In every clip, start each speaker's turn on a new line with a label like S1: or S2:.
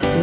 S1: Du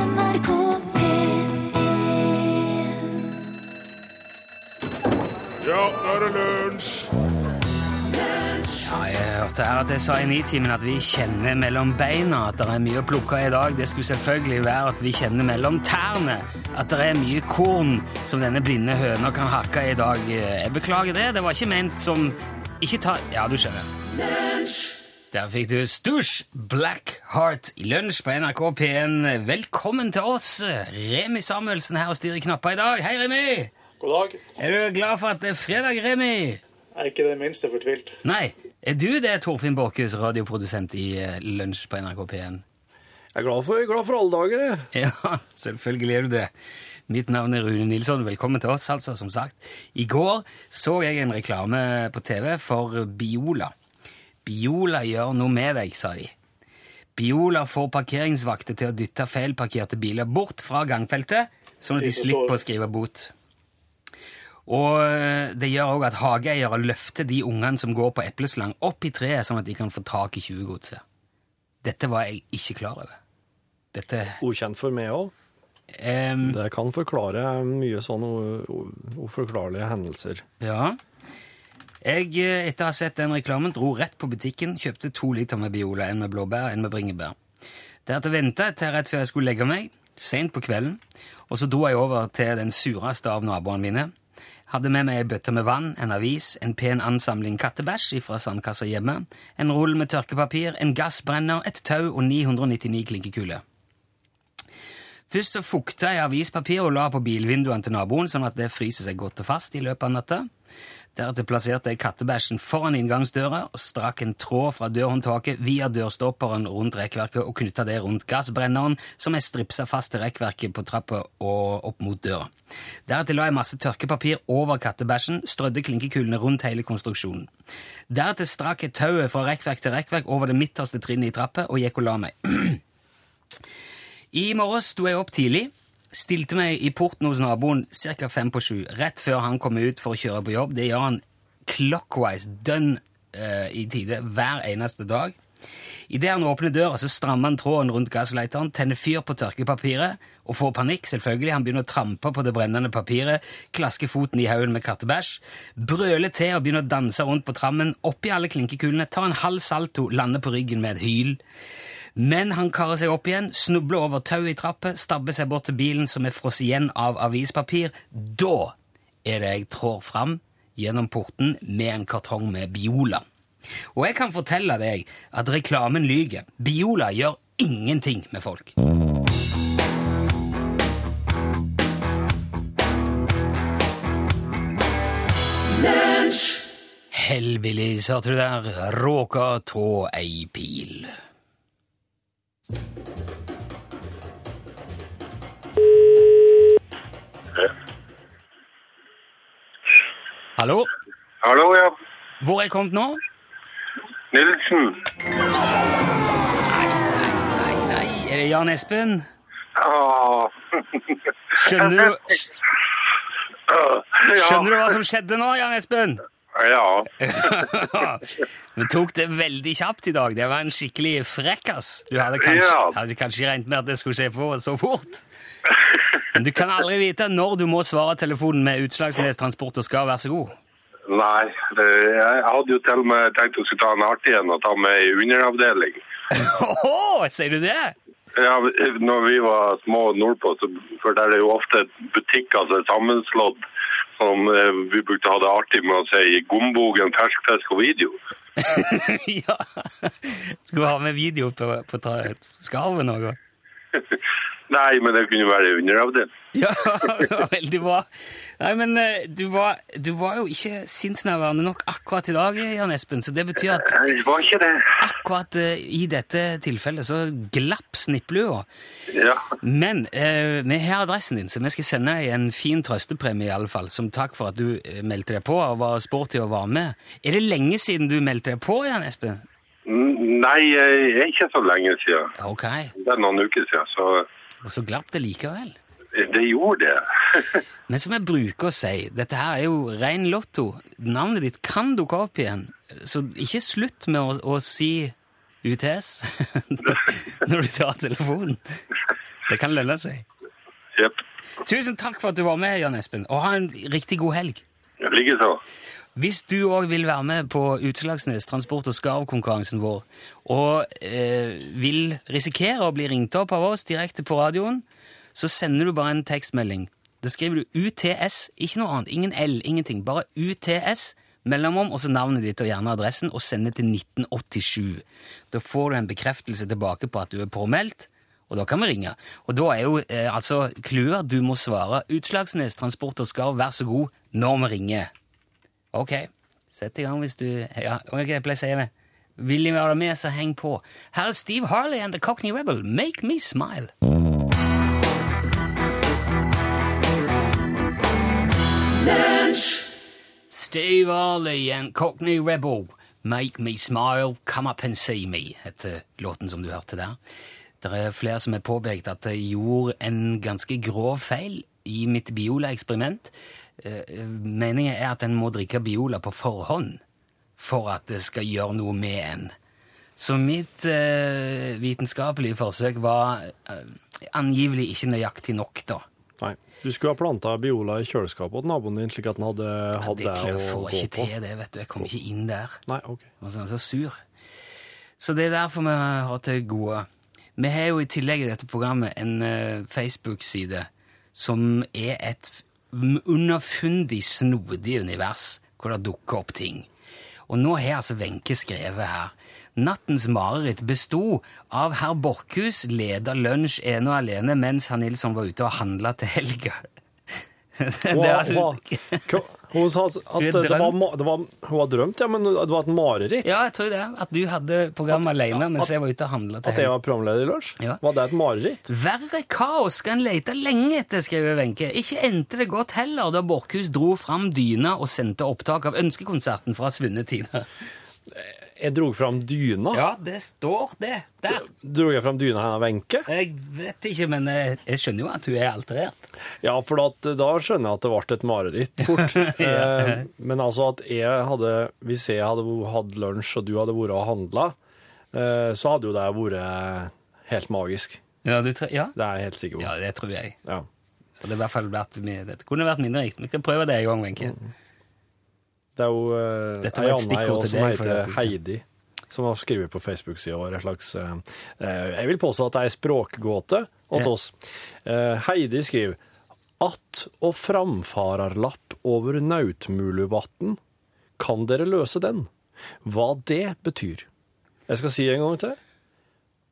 S2: NRK P1
S3: Ja, nå er det lunsj!
S4: Ja, jeg hørte her at jeg sa i Nitimen at vi kjenner mellom beina at det er mye å plukke i dag. Det skulle selvfølgelig være at vi kjenner mellom tærne at det er mye korn som denne blinde høna kan hakke i dag. Jeg beklager det, det var ikke ment som Ikke ta Ja, du skjønner. Der fikk du Stush Black Heart i lunsj på NRK P1. Velkommen til oss! Remi Samuelsen her og styrer knappa i dag. Hei, Remi!
S3: God dag.
S4: Er du glad for at det er fredag, Remi?
S3: Er ikke det minste fortvilt.
S4: Nei. Er du det, Torfinn Borchhus, radioprodusent i eh, Lunsj på NRK P1?
S3: Jeg er glad for, alle dager, jeg.
S4: Ja, selvfølgelig er du det. Mitt navn er Rune Nilsson. Velkommen til oss, altså, som sagt. I går så jeg en reklame på TV for Biola. Biola gjør noe med deg, sa de. Biola får parkeringsvakter til å dytte feilparkerte biler bort fra gangfeltet, sånn at de slipper å skrive bot. Og eh, det gjør òg at hageeiere løfter de ungene som går på epleslang, opp i treet, sånn at de kan få tak i tjuvgodset. Dette var jeg ikke klar over. Dette
S5: ukjent for meg òg.
S4: ehm,
S5: Det kan forklare mye sånne u- u- uforklarlige hendelser.
S4: Ja. Jeg, eh, etter å ha sett den reklamen, dro rett på butikken, kjøpte to liter med Biola, en med blåbær, en med bringebær. Deretter venta jeg til rett før jeg skulle legge meg, seint på kvelden, og så dro jeg over til den sureste av naboene mine. Hadde med meg ei bøtte med vann, en avis, en pen ansamling kattebæsj fra sandkassa hjemme, en rull med tørkepapir, en gassbrenner, et tau og 999 klinkekuler. Først så fukta jeg avispapir og la på bilvinduene til naboen, sånn at det fryser seg godt og fast i løpet av natta. Deretter plasserte jeg kattebæsjen foran inngangsdøra og strakk en tråd fra dørhåndtaket via dørstopperen rundt rekkverket og knytta det rundt gassbrenneren, som jeg stripsa fast til rekkverket på trappa og opp mot døra. Deretter la jeg masse tørkepapir over kattebæsjen, strødde klinkekulene rundt hele konstruksjonen. Deretter strakk jeg tauet fra rekkverk til rekkverk over det midterste trinnet i trappa og gikk og la meg. I morgen sto jeg opp tidlig, stilte meg i porten hos naboen ca. fem på sju, rett før han kommer ut for å kjøre på jobb. Det gjør han clockwise, dønn eh, i tide, hver eneste dag. Idet han åpner døra, så strammer han tråden rundt gasslighteren, tenner fyr på tørkepapiret og får panikk, selvfølgelig. Han begynner å trampe på det brennende papiret, klasker foten i haugen med kattebæsj, brøler til og begynner å danse rundt på trammen, oppi alle klinkekulene, tar en halv salto, lander på ryggen med et hyl. Men han karer seg opp igjen, snubler over tauet i trappa, stabber seg bort til bilen som er frosset igjen av avispapir. Da er det jeg trår fram gjennom porten med en kartong med Biola. Og jeg kan fortelle deg at reklamen lyger. Biola gjør ingenting med folk. Hellbillies, hørte du der? Råka tå ei pil. Hallo?
S6: Hallo, ja.
S4: Hvor er jeg kommet nå?
S6: Nilsen.
S4: Nei, nei, er det Jan Espen?
S6: Åh.
S4: Skjønner du,
S6: Ja.
S4: skjønner du hva som skjedde nå, Jan Espen?
S6: Ja.
S4: Vi tok det veldig kjapt i dag. Det var en skikkelig frekkas. Du hadde kanskje,
S6: Ja.
S4: hadde kanskje regnet med at det skulle skje for så fort. Men du kan aldri vite når du må svare telefonen med Utslagsnes Transport og Skar, vær så god.
S6: Nei, det, jeg hadde jo til og med tenkt å skulle ta en artig en og ta med i underavdeling.
S4: Åhå, sier du det?
S6: Ja, når vi var små nordpå, så, for der er jo ofte butikker som er sammenslått, som eh, vi brukte å ha det artig med å si gombogen, fersk fisk og video.
S4: ja. Skal vi ha med video på, på ta- skarven òg?
S6: Nei, men det kunne være i underavdeling.
S4: Ja, det var veldig bra. Nei, men eh, du var, du var jo ikke sinnsnærværende nok akkurat i dag, Jan Espen, så det betyr at
S6: Nei, det var ikke det.
S4: akkurat eh, i dette tilfellet så glapp snipplua.
S6: Ja.
S4: Men eh, vi har adressen din, så vi skal sende deg en fin trøstepremie i alle fall, som takk for at du eh, meldte deg på og var sporty og var med. Er det lenge siden du meldte deg på, Jan Espen?
S6: N- Nei, eh, ikke så lenge siden.
S4: Ja, Ok,
S6: Det er noen uker siden, så...
S4: og så glapp det likevel.
S6: Det gjorde det.
S4: Men som jeg bruker å si, dette her er jo ren lotto. Navnet ditt kan dukke opp igjen, så ikke slutt med å, å si UTS når du tar telefonen. Det kan lønne seg.
S6: Jepp.
S4: Tusen takk for at du var med, Jan Espen, og ha en riktig god helg.
S6: Likeså.
S4: Hvis du òg vil være med på Utslagsnes transport- og skarvkonkurransen vår, og eh, vil risikere å bli ringt opp av oss direkte på radioen, så sender du bare en tekstmelding. Da skriver du UTS, ikke noe annet, ingen L, ingenting, bare UTS, mellomom, og så navnet ditt og gjerne adressen, og sender til 1987. Da får du en bekreftelse tilbake på at du er påmeldt, og da kan vi ringe. Og da er jo eh, altså clouet du må svare Utslagsnes transport og skarv, vær så god, når vi ringer. Ok, sett i gang hvis du ja, Ok, jeg pleier å si det. Vil de være med, så heng på. Her er Steve Harley and The Cockney Rebel, Make Me Smile. Steve Harley and Cockney Rebel, Make Me Smile, Come Up and See Me, heter låten som du hørte der. Det er flere som har påpekt at jeg gjorde en ganske grov feil i mitt Biola-eksperiment. Eh, Meningen er at en må drikke Biola på forhånd for at det skal gjøre noe med en. Så mitt eh, vitenskapelige forsøk var eh, angivelig ikke nøyaktig nok, da.
S5: Nei. Du skulle ha planta Biola i kjøleskapet til naboen din, slik at den hadde hatt
S4: det
S5: det
S4: klør
S5: å
S4: får
S5: gå
S4: ikke
S5: på.
S4: til, det, vet du. Jeg kom ikke inn der.
S5: Nei, ok.
S4: Altså, han er så sur. Så det er derfor vi har til gode. Vi har jo i tillegg i dette programmet en eh, Facebook-side som er et f- m- underfundig, snodig univers hvor det dukker opp ting. Og nå har altså Wenche skrevet her. Nattens mareritt besto av herr Borchhus leda lunsj ene og alene mens herr Nilsson var ute og handla til helga. Det er
S5: Hun har-
S4: altså-
S5: Hva- Hun sa at
S4: har
S5: at det var,
S4: drømt.
S5: ma- det var, hun har drømt, ja, men det var et mareritt.
S4: Ja, jeg tror det. At du hadde programmet alene mens
S5: at-
S4: jeg var ute og handla til
S5: At jeg var programleder i lunsj?
S4: Ja.
S5: Var det et mareritt?
S4: Verre kaos skal en lete lenge etter, skriver Wenche. Ikke endte det godt heller da Borchhus dro fram dyna og sendte opptak av ønskekonserten fra svunne tider.
S5: Jeg drog fram dyna.
S4: Ja, det står det der.
S5: Drog jeg fram dyna hennes Wenche?
S4: Jeg vet ikke, men jeg, jeg skjønner jo at hun er alterert.
S5: Ja, for at, eh, da skjønner jeg at det ble et mareritt fort. Eh, Men altså at jeg hadde Hvis jeg hadde hatt lunsj, og du hadde vært og handla, så hadde jo det vært helt magisk.
S4: Ja, du tre ja?
S5: Det er jeg helt sikker på.
S4: ja det tror jeg.
S5: Ja.
S4: Det, hadde i hvert fall vært, mye- det kunne vært mindre riktig. Vi kan prøve det en gang, Wenche.
S5: Det er jo eh,
S4: Dette var
S5: ei
S4: et
S5: anna jeg
S4: stikkord
S5: også
S4: til
S5: som
S4: deg, fordi
S5: heter
S4: at du-
S5: Heidi, som har skrevet på Facebook-sida vår en slags eh, eh, Jeg vil påstå at det er ei språkgåte åt
S4: Ja.
S5: oss. Eh, Heidi skriver Att og framfararlapp over Nautmuluvatn. Kan dere løse den? Hva det betyr? Jeg skal si en gang til.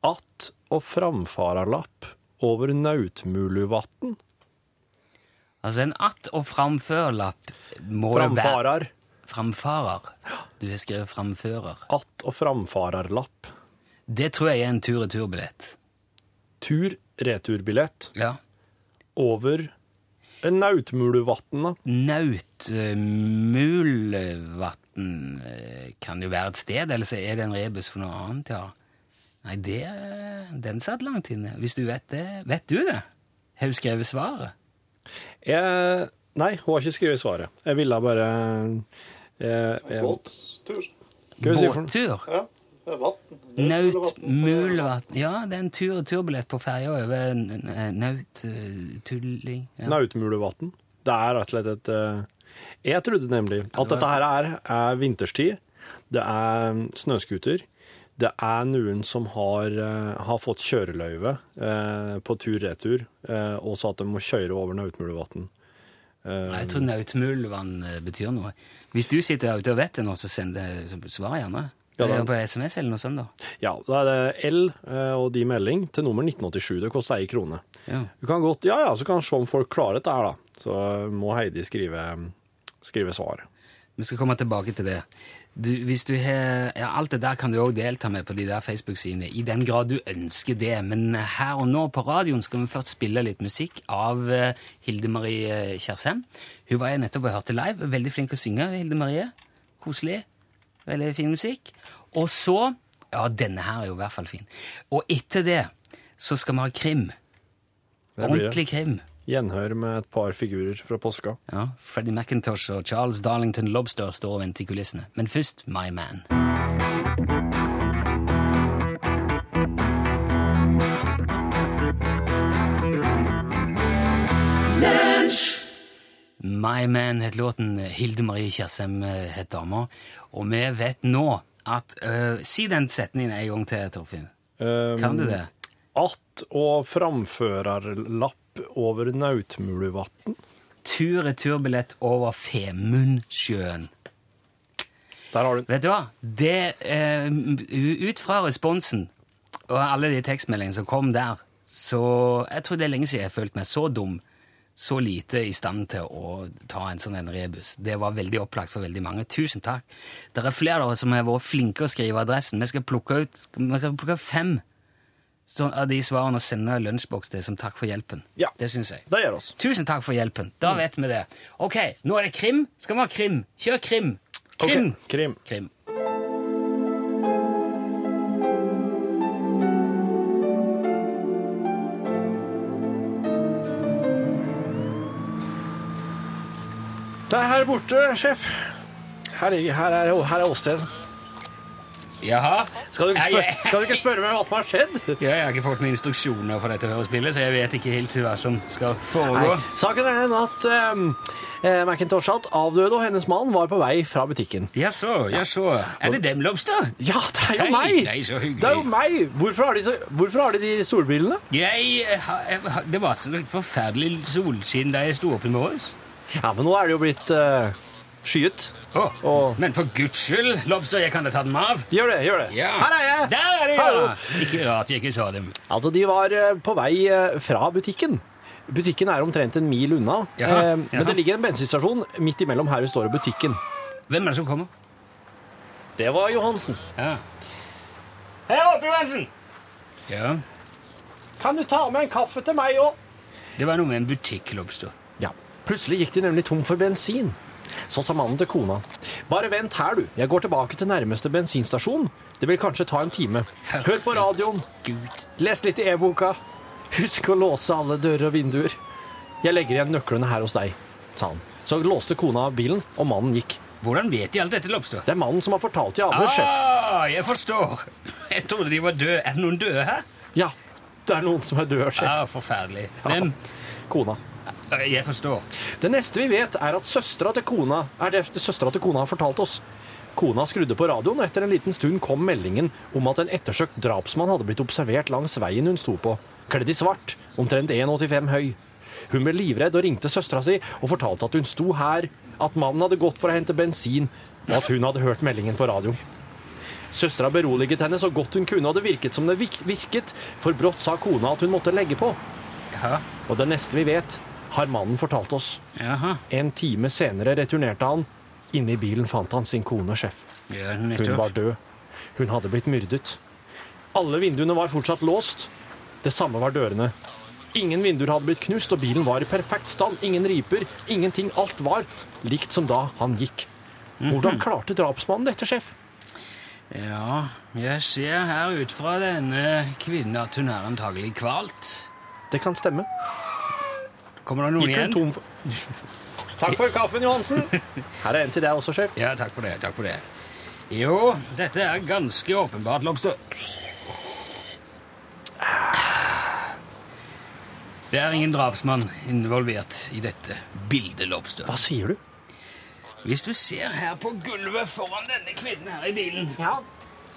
S5: Att og framfararlapp over Nautmuluvatn.
S4: Altså, en att- og framførlapp må jo være
S5: Framfarar.
S4: Framfarer. Du har skrevet framfører.
S5: Att og framfararlapp.
S4: Det tror jeg er en tur-retur-billett.
S5: Tur-returbillett.
S4: Ja.
S5: over Nautmuluvatn, da.
S4: Nautmulvatn eh, kan jo være et sted, eller så er det en rebus for noe annet, ja. Nei, det, den satt langt inne. Hvis du vet det, vet du det? Har du skrevet svaret?
S5: Jeg, nei, hun har ikke skrevet svaret. Jeg ville bare jeg, jeg,
S3: Båttur.
S5: Hva vil du si for noe?
S4: Båttur?
S3: Ja. Det er vann.
S4: Nautmulvatn Ja, det er en tur-retur-billett på ferja over N- N- Nauttulling ja.
S5: Nautmuluvatn. Det er rett og slett et eh, Jeg trodde nemlig at dette her er, er vinterstid. Det er snøscooter. Det er noen som har, eh, har fått kjøreløyve eh, på tur-retur, eh, og så at de må kjøre over Nautmuluvatn.
S4: Nei, Jeg tror nautmulvann eh, betyr noe. Hvis du sitter ute og vet det nå, så send det- så svar gjerne.
S5: Ja, da-
S4: Eller På SMS eller noe sånt, da.
S5: Ja, da er det L eh, og de melding til nummer 1987. Det koster ei krone.
S4: Ja.
S5: Du kan godt, ja, ja, så kan vi se om folk klarer dette her, da. Så må Heidi skrive, skrive svar.
S4: Vi skal komme tilbake til det. Du, hvis du har, ja, alt det der kan du òg delta med på de der Facebook-sidene, i den grad du ønsker det. Men her og nå på radioen skal vi først spille litt musikk av eh, Hilde Marie Kjersheim. Hun var jeg nettopp og hørte live. Veldig flink å synge, Hilde Marie. Koselig. Veldig fin musikk. Og så Ja, denne her er jo i hvert fall fin. Og etter det så skal vi ha krim.
S5: blir det.
S4: Ordentlig krim.
S5: Gjenhør med et par figurer fra påska.
S4: Ja, Freddy McIntosh og Charles Darlington Lobster står og venter i kulissene. Men først My Man. My Man het låten. Hilde Marie Kjersem eh, het dama. Og vi vet nå at eh, Si den setningen en gang til, Torfinn.
S5: Um,
S4: Kan du det?
S5: Att og framførerlapp over Nautmulevatn.
S4: Tur-retur-billett over Femundsjøen.
S5: Der har du den.
S4: Vet du hva? Det, eh, u- ut fra responsen og alle de tekstmeldingene som kom der, så jeg tror det er lenge siden jeg har følt meg så dum, så lite i stand til å ta en sånn en rebus. Det var veldig opplagt for veldig mange. Tusen takk. Det er flere av oss som har vært flinke å skrive adressen. Vi skal plukke ut, vi skal plukke ut fem sånn av de svarene og sende lunsjboks til som takk for hjelpen.
S5: Ja. Mm.
S4: Det syns jeg.
S5: Det gjør oss.
S4: Tusen takk for hjelpen. Da vet vi det. Ok, nå er det krim. Skal vi ha krim? Kjør krim. Krim.
S5: Ok, Krim.
S4: Krim.
S5: Det er her borte, sjef. Her, ligger- her er, her er åstedet.
S4: Jaha.
S5: Skal du ikke
S4: Ja,
S5: spørre,
S4: jeg-
S5: skal du ikke spørre meg hva som har skjedd?
S4: Ja, jeg har ikke fått noen instruksjoner for dette hørespillet, så jeg vet ikke helt hva som skal
S5: Nei,
S4: foregå.
S5: saken er den at ehm, eh, Macintosh at avdøde og hennes mann var på vei fra butikken.
S4: Jaså, jaså. Er det dem, Lobster?
S5: Ja, det er jo
S4: Hei,
S5: meg!
S4: det er så hyggelig.
S5: Det er jo meg! Hvorfor har de, så, hvorfor har de, de solbrillene?
S4: Jeg, eh, ha- jeg ha- Det var så forferdelig solskinn da jeg sto opp i morges.
S5: Ja, men nå er det jo blitt eh, skyet.
S4: Å,
S5: Å.
S4: Men for guds skyld, Lobster, jeg kan da ta dem av.
S5: Gjør det, gjør det.
S4: Ja.
S5: Her er jeg!
S4: Der er de,
S5: Hallo.
S4: ja! Ikke rart jeg ikke så dem.
S5: Altså, de var eh, på vei eh, fra butikken. Butikken er omtrent en mil unna,
S4: Jaha,
S5: eh,
S4: jaha.
S5: men det ligger en bensinstasjon midt imellom her vi står og butikken.
S4: Hvem er det som kommer?
S5: Det var Johansen.
S4: Ja. Hei, oppe, Johansen! Ja,
S5: Kan du ta med en kaffe til meg òg?
S4: det var noe med en butikk, Lobster.
S5: Ja. Plutselig gikk de nemlig tom for bensin. Så sa mannen til kona. Bare vent her, du. Jeg går tilbake til nærmeste bensinstasjon. Det vil kanskje ta en time. Hør på radioen.
S4: Gud.
S5: Les litt i e-boka. Husk å låse alle dører og vinduer. Jeg legger igjen nøklene her hos deg, sa han. Så låste kona bilen, og mannen gikk.
S4: Hvordan vet de alt dette, Lobster?
S5: Det er mannen som har fortalt til avhør, sjef.
S4: Ah, jeg forstår. Jeg trodde de var døde. Er det noen døde her?
S5: Ja, det er noen som er død, sjef.
S4: Ah, forferdelig. Hvem?
S5: Kona.
S4: Eh, Jeg forstår.
S5: Det neste vi vet er at søstera til kona er det søstera til kona har fortalt oss. Kona skrudde på radioen, og etter en liten stund kom meldingen om at en ettersøkt drapsmann hadde blitt observert langs veien hun sto på, kledd i svart, omtrent 1,85 høy. Hun ble livredd og ringte søstera si og fortalte at hun sto her, at mannen hadde gått for å hente bensin, og at hun hadde hørt meldingen på radio. Søstera beroliget henne så godt hun kunne, og det virket som det vik- virket, for brått sa kona at hun måtte legge på.
S4: Jaha.
S5: Og det neste vi vet, har mannen fortalt oss.
S4: Jaha.
S5: En time senere returnerte han. Inne i bilen fant han sin kone, sjef.
S4: Ja,
S5: Hun
S4: nettopp.
S5: var død. Hun hadde blitt myrdet. Alle vinduene var fortsatt låst. Det samme var dørene. Ingen vinduer hadde blitt knust, og bilen var i perfekt stand. Ingen riper, ingenting. Alt var likt som da han gikk. Hvordan klarte drapsmannen dette, sjef?
S4: Ja, jeg ser her ut fra denne kvinnen at hun er antagelig kvalt.
S5: Det kan stemme.
S4: Kommer det noen
S5: Gikk hun
S4: igjen?
S5: tom for Takk for kaffen, Johansen. Her er en til deg også, sjef.
S4: Ja, takk for det. Takk for det. Jo, dette er ganske åpenbart, Lobster. Ah. Det er ingen drapsmann involvert i dette bildet, Lobster.
S5: Hva sier du?
S4: Hvis du ser her på gulvet foran denne kvinnen her i bilen,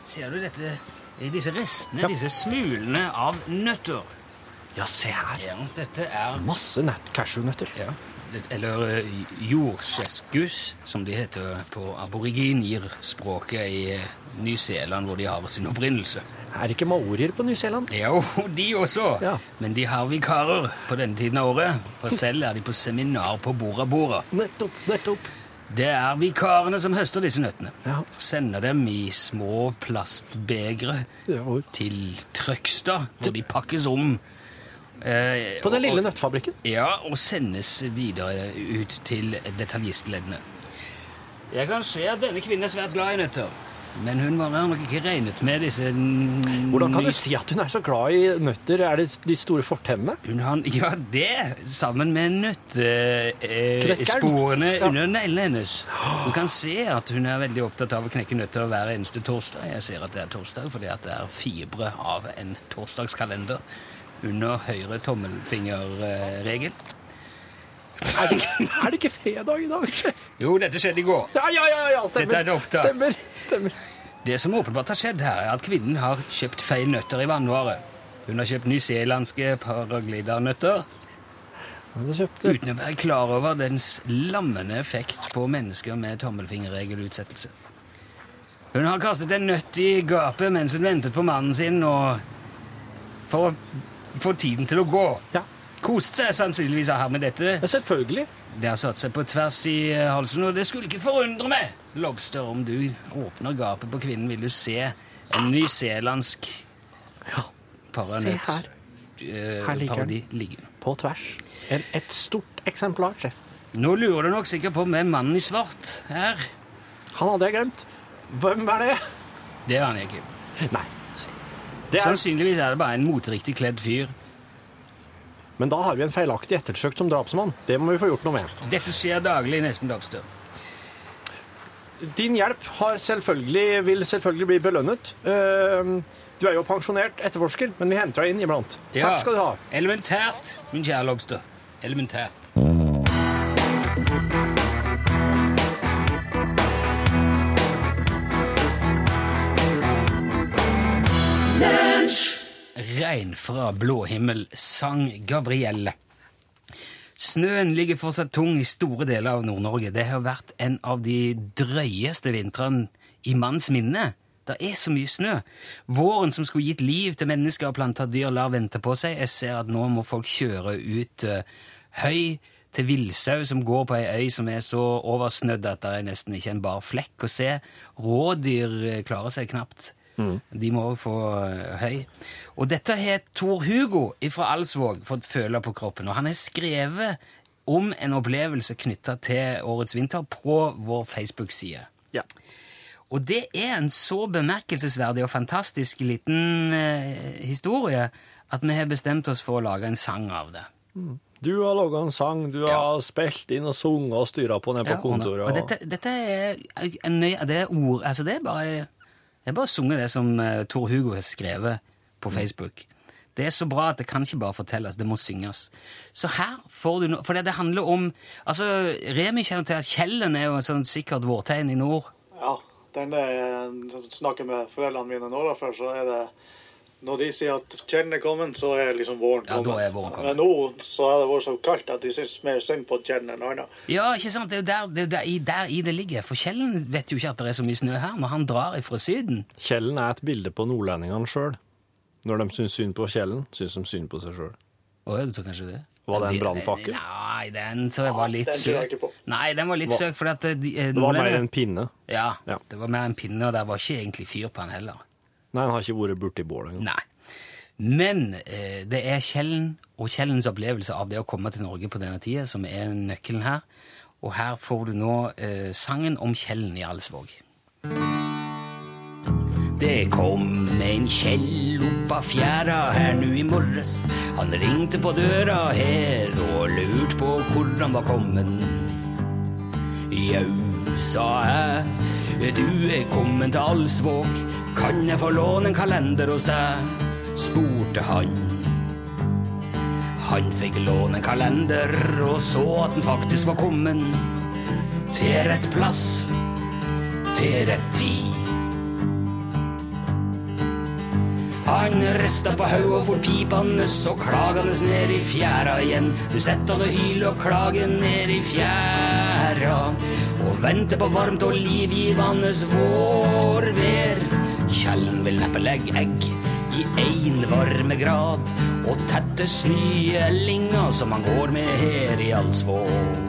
S4: ser du dette, disse restene, disse smulene av nøtter.
S5: Ja, se her.
S4: Ja, dette er
S5: Masse nett- cashewnøtter.
S4: ja, det, Eller eh, jordseskus, som de heter på aboriginir-språket i eh, Ny-Zeeland, hvor de har sin opprinnelse.
S5: Er det ikke maorier på Ny-Zeeland?
S4: Jo, de også.
S5: Ja.
S4: Men de har vikarer på denne tiden av året, for selv er de på seminar på Bora Bora.
S5: Nettopp, nettopp.
S4: Det er vikarene som høster disse nøttene.
S5: Ja.
S4: Sender dem i små plastbegre
S5: Ja, og-
S4: til Trøgstad, hvor de pakkes om. eh,
S5: På den
S4: og-
S5: lille
S4: og-
S5: nøttfabrikken?
S4: Ja, og sendes videre ut til detaljistleddene. Jeg kan se at denne kvinnen er svært glad i nøtter. Men hun var nok ikke regnet med disse n-
S5: Hvordan kan du si at hun er så glad i nøtter? Er det de store fortennene?
S4: Hun har, ja, det, sammen med nøttesporene
S5: Knekkeren.
S4: eh, sporene
S5: Ja.
S4: under neglene hennes. Du kan se at hun er veldig opptatt av å knekke nøtter hver eneste torsdag. Jeg ser at det er torsdag, fordi at det er fibre av en torsdagskalender under høyre tommelfingerregel.
S5: Er det, er det ikke fredag i dag? sjef?
S4: Jo, dette skjedde i går.
S5: Ja, ja, ja, ja stemmer.
S4: Dette er et opptak.
S5: Stemmer. stemmer.
S4: Det som åpenbart har skjedd her, er at kvinnen har kjøpt feil nøtter i vannvare. Hun har kjøpt nyzeelandske paraglidernøtter
S5: Men da kjøpte
S4: uten å være klar over dens lammende effekt på mennesker med tommelfingerregelutsettelse. Hun har kastet en nøtt i gapet mens hun ventet på mannen sin, og for å få tiden til å gå.
S5: Ja.
S4: Koste seg sannsynligvis av her med dette.
S5: ja, selvfølgelig.
S4: Det har satt seg på tvers i eh, halsen, og det skulle ikke forundre meg. Lobster, om du åpner gapet på kvinnen, vil du se en nyzeelandsk paranøtt.
S5: Se her.
S4: eh,
S5: Her ligger den.
S4: parodi ligge.
S5: På tvers. En, et stort eksemplar, sjef.
S4: Nå lurer du nok sikkert på hvem mannen i svart er.
S5: Han hadde jeg glemt. Hvem er det?
S4: Det aner jeg ikke.
S5: Nei. Det er,
S4: Sannsynligvis er det bare en moteriktig kledd fyr.
S5: men da har vi en feilaktig ettersøkt som drapsmann. Det må vi få gjort noe med.
S4: Dette skjer daglig, nesten Lobster.
S5: Din hjelp har selvfølgelig, vil selvfølgelig bli belønnet. Eh, Du er jo pensjonert etterforsker, men vi henter deg inn iblant. Takk skal du ha.
S4: Elementært, min kjære Lobster. Elementært. Regn fra blå himmel sang Gabrielle. Snøen ligger fortsatt tung i store deler av Nord-Norge. Det har vært en av de drøyeste vintrene i manns minne. Det er så mye snø. Våren som skulle gitt liv til mennesker og planter dyr, lar vente på seg. Jeg ser at nå må folk kjøre ut eh, høy til villsau som går på ei øy som er så oversnødd at det er nesten ikke en bar flekk å se. Rådyr eh, klarer seg knapt. Mm. De må også få eh, høy. Og dette har Tor Hugo fra Alsvåg fått føle på kroppen, og han har skrevet om en opplevelse knytta til årets vinter på vår Facebook-side.
S5: Ja.
S4: Og det er en så bemerkelsesverdig og fantastisk liten eh, historie at vi har bestemt oss for å lage en sang av det.
S5: Du har laga en sang, du har spilt inn og sunget og styra på nede på
S4: Ja, og-
S5: kontoret.
S4: Og
S5: Og
S4: dette, dette er en nøy, det er ord Altså, det er bare Jeg har bare sunget det som eh, Tor Hugo har skrevet
S5: Mm.
S4: på Facebook. Det er så bra at det kan ikke bare fortelles, det må synges. Så her får du noe For det det handler om Altså, Remi kjenner til at Kjellen er jo et sånt sikkert vårtegn i nord.
S2: Ja, den er, jeg snakker med foreldrene mine nå da, før, så er det Når de sier at kjellen er kommet, så er liksom våren
S4: Ja, da
S2: kommet.
S4: er våren kommet.
S2: Men nå så har det vært så kaldt at de syns mer synd på kjellen enn annet.
S4: Ja, ikke sant? Det er jo der, det er jo der, i, der i det ligger. For Kjellen vet jo ikke at det er så mye snø her når han drar ifra Syden.
S5: Kjellen er et bilde på nordlendingene sjøl. Når de syns synd på Kjellen, syns de synd på seg sjøl.
S4: Å, du tror kanskje det?
S5: Var det en brannfakkel?
S4: Nei, den så jeg var litt
S2: den tror
S4: søk.
S2: jeg ikke på.
S4: Nei, den var litt søk, for at eh, de, eh,
S5: Det var
S4: nordlendingene-
S5: mer en pinne.
S4: Ja,
S5: Ja.
S4: det var mer en pinne, og der var ikke egentlig fyr på han heller.
S5: Nei, han har ikke vært borti bål engang.
S4: Nei. Men eh, det er Kjellen og Kjellens opplevelse av det å komme til Norge på denne tida som er nøkkelen her. Og her får du nå eh, sangen om Kjellen i Alsvåg. Det kom en Kjell opp av fjæra her nu i morges. Han ringte på døra her og lurte på hvor han var kommet. Jau, sa jeg, du er kommet til Alsvåg. Kan jeg få låne en kalender hos deg? spurte han. Han fikk låne en kalender og så at den faktisk var kommet. Til rett plass, til rett tid. Han rista på hodet og for pipende og klagende ned i fjæra igjen. Du setter han og hyler og klager ned i fjæra. Og venter på varmt og livgivende vårvær. Kjellen vil neppe legge egg i én varmegrad. Og tette snøellinga som han går med her i Alsvåg.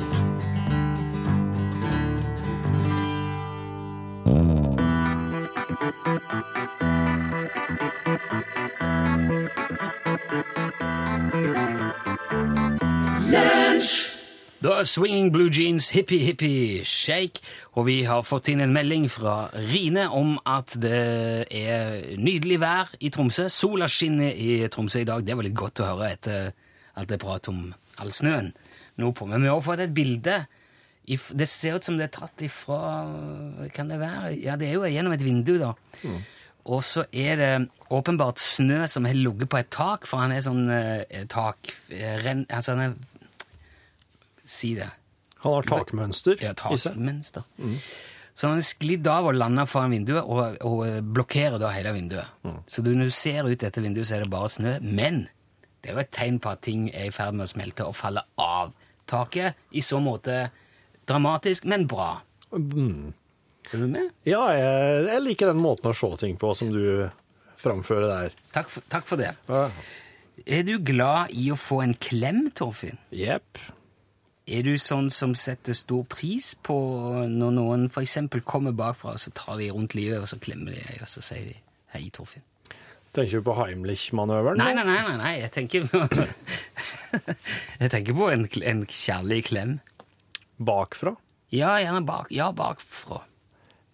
S4: Da Swinging Blue Jeans Hippie Hippie Shake. Og vi har fått inn en melding fra Rine om at det er nydelig vær i Tromsø. Sola skinner i Tromsø i dag. Det var litt godt å høre etter alt det pratet om all snøen nordpå. Men vi har også fått et bilde. if- Det ser ut som det er tatt ifra Kan det være? Ja, det er jo gjennom et vindu, da. Og så er det åpenbart snø som har ligget på et tak, for han er sånn eh, tak... eh, Renn, altså han er Si det.
S5: Han har takmønster
S4: Ja,
S5: i seg.
S4: takmønster. Så han sklidd av og landa foran vinduet, og, og blokkerer da hele vinduet.
S5: Mm.
S4: Så du, når du ser ut dette vinduet, så er det bare snø. Men det er jo et tegn på at ting er i ferd med å smelte og falle av taket. I så måte dramatisk, men bra.
S5: Mm.
S4: Er du med?
S5: Ja, jeg, jeg liker den måten å se ting på som du framfører der.
S4: Takk for, takk for det. Er du glad i å få en klem, Torfinn?
S5: Jepp.
S4: Er du sånn som setter stor pris på eh, når noen f.eks. kommer bakfra, og så tar de rundt livet, og så klemmer de, og så sier de 'hei, Torfinn'?
S5: Tenker du på Heimlich-manøveren?
S4: Nei, nei, nei, nei, nei. jeg tenker Jeg tenker på en, kl- en kjærlig klem.
S5: Bakfra?
S4: Ja, gjerne bak. Ja, bakfra.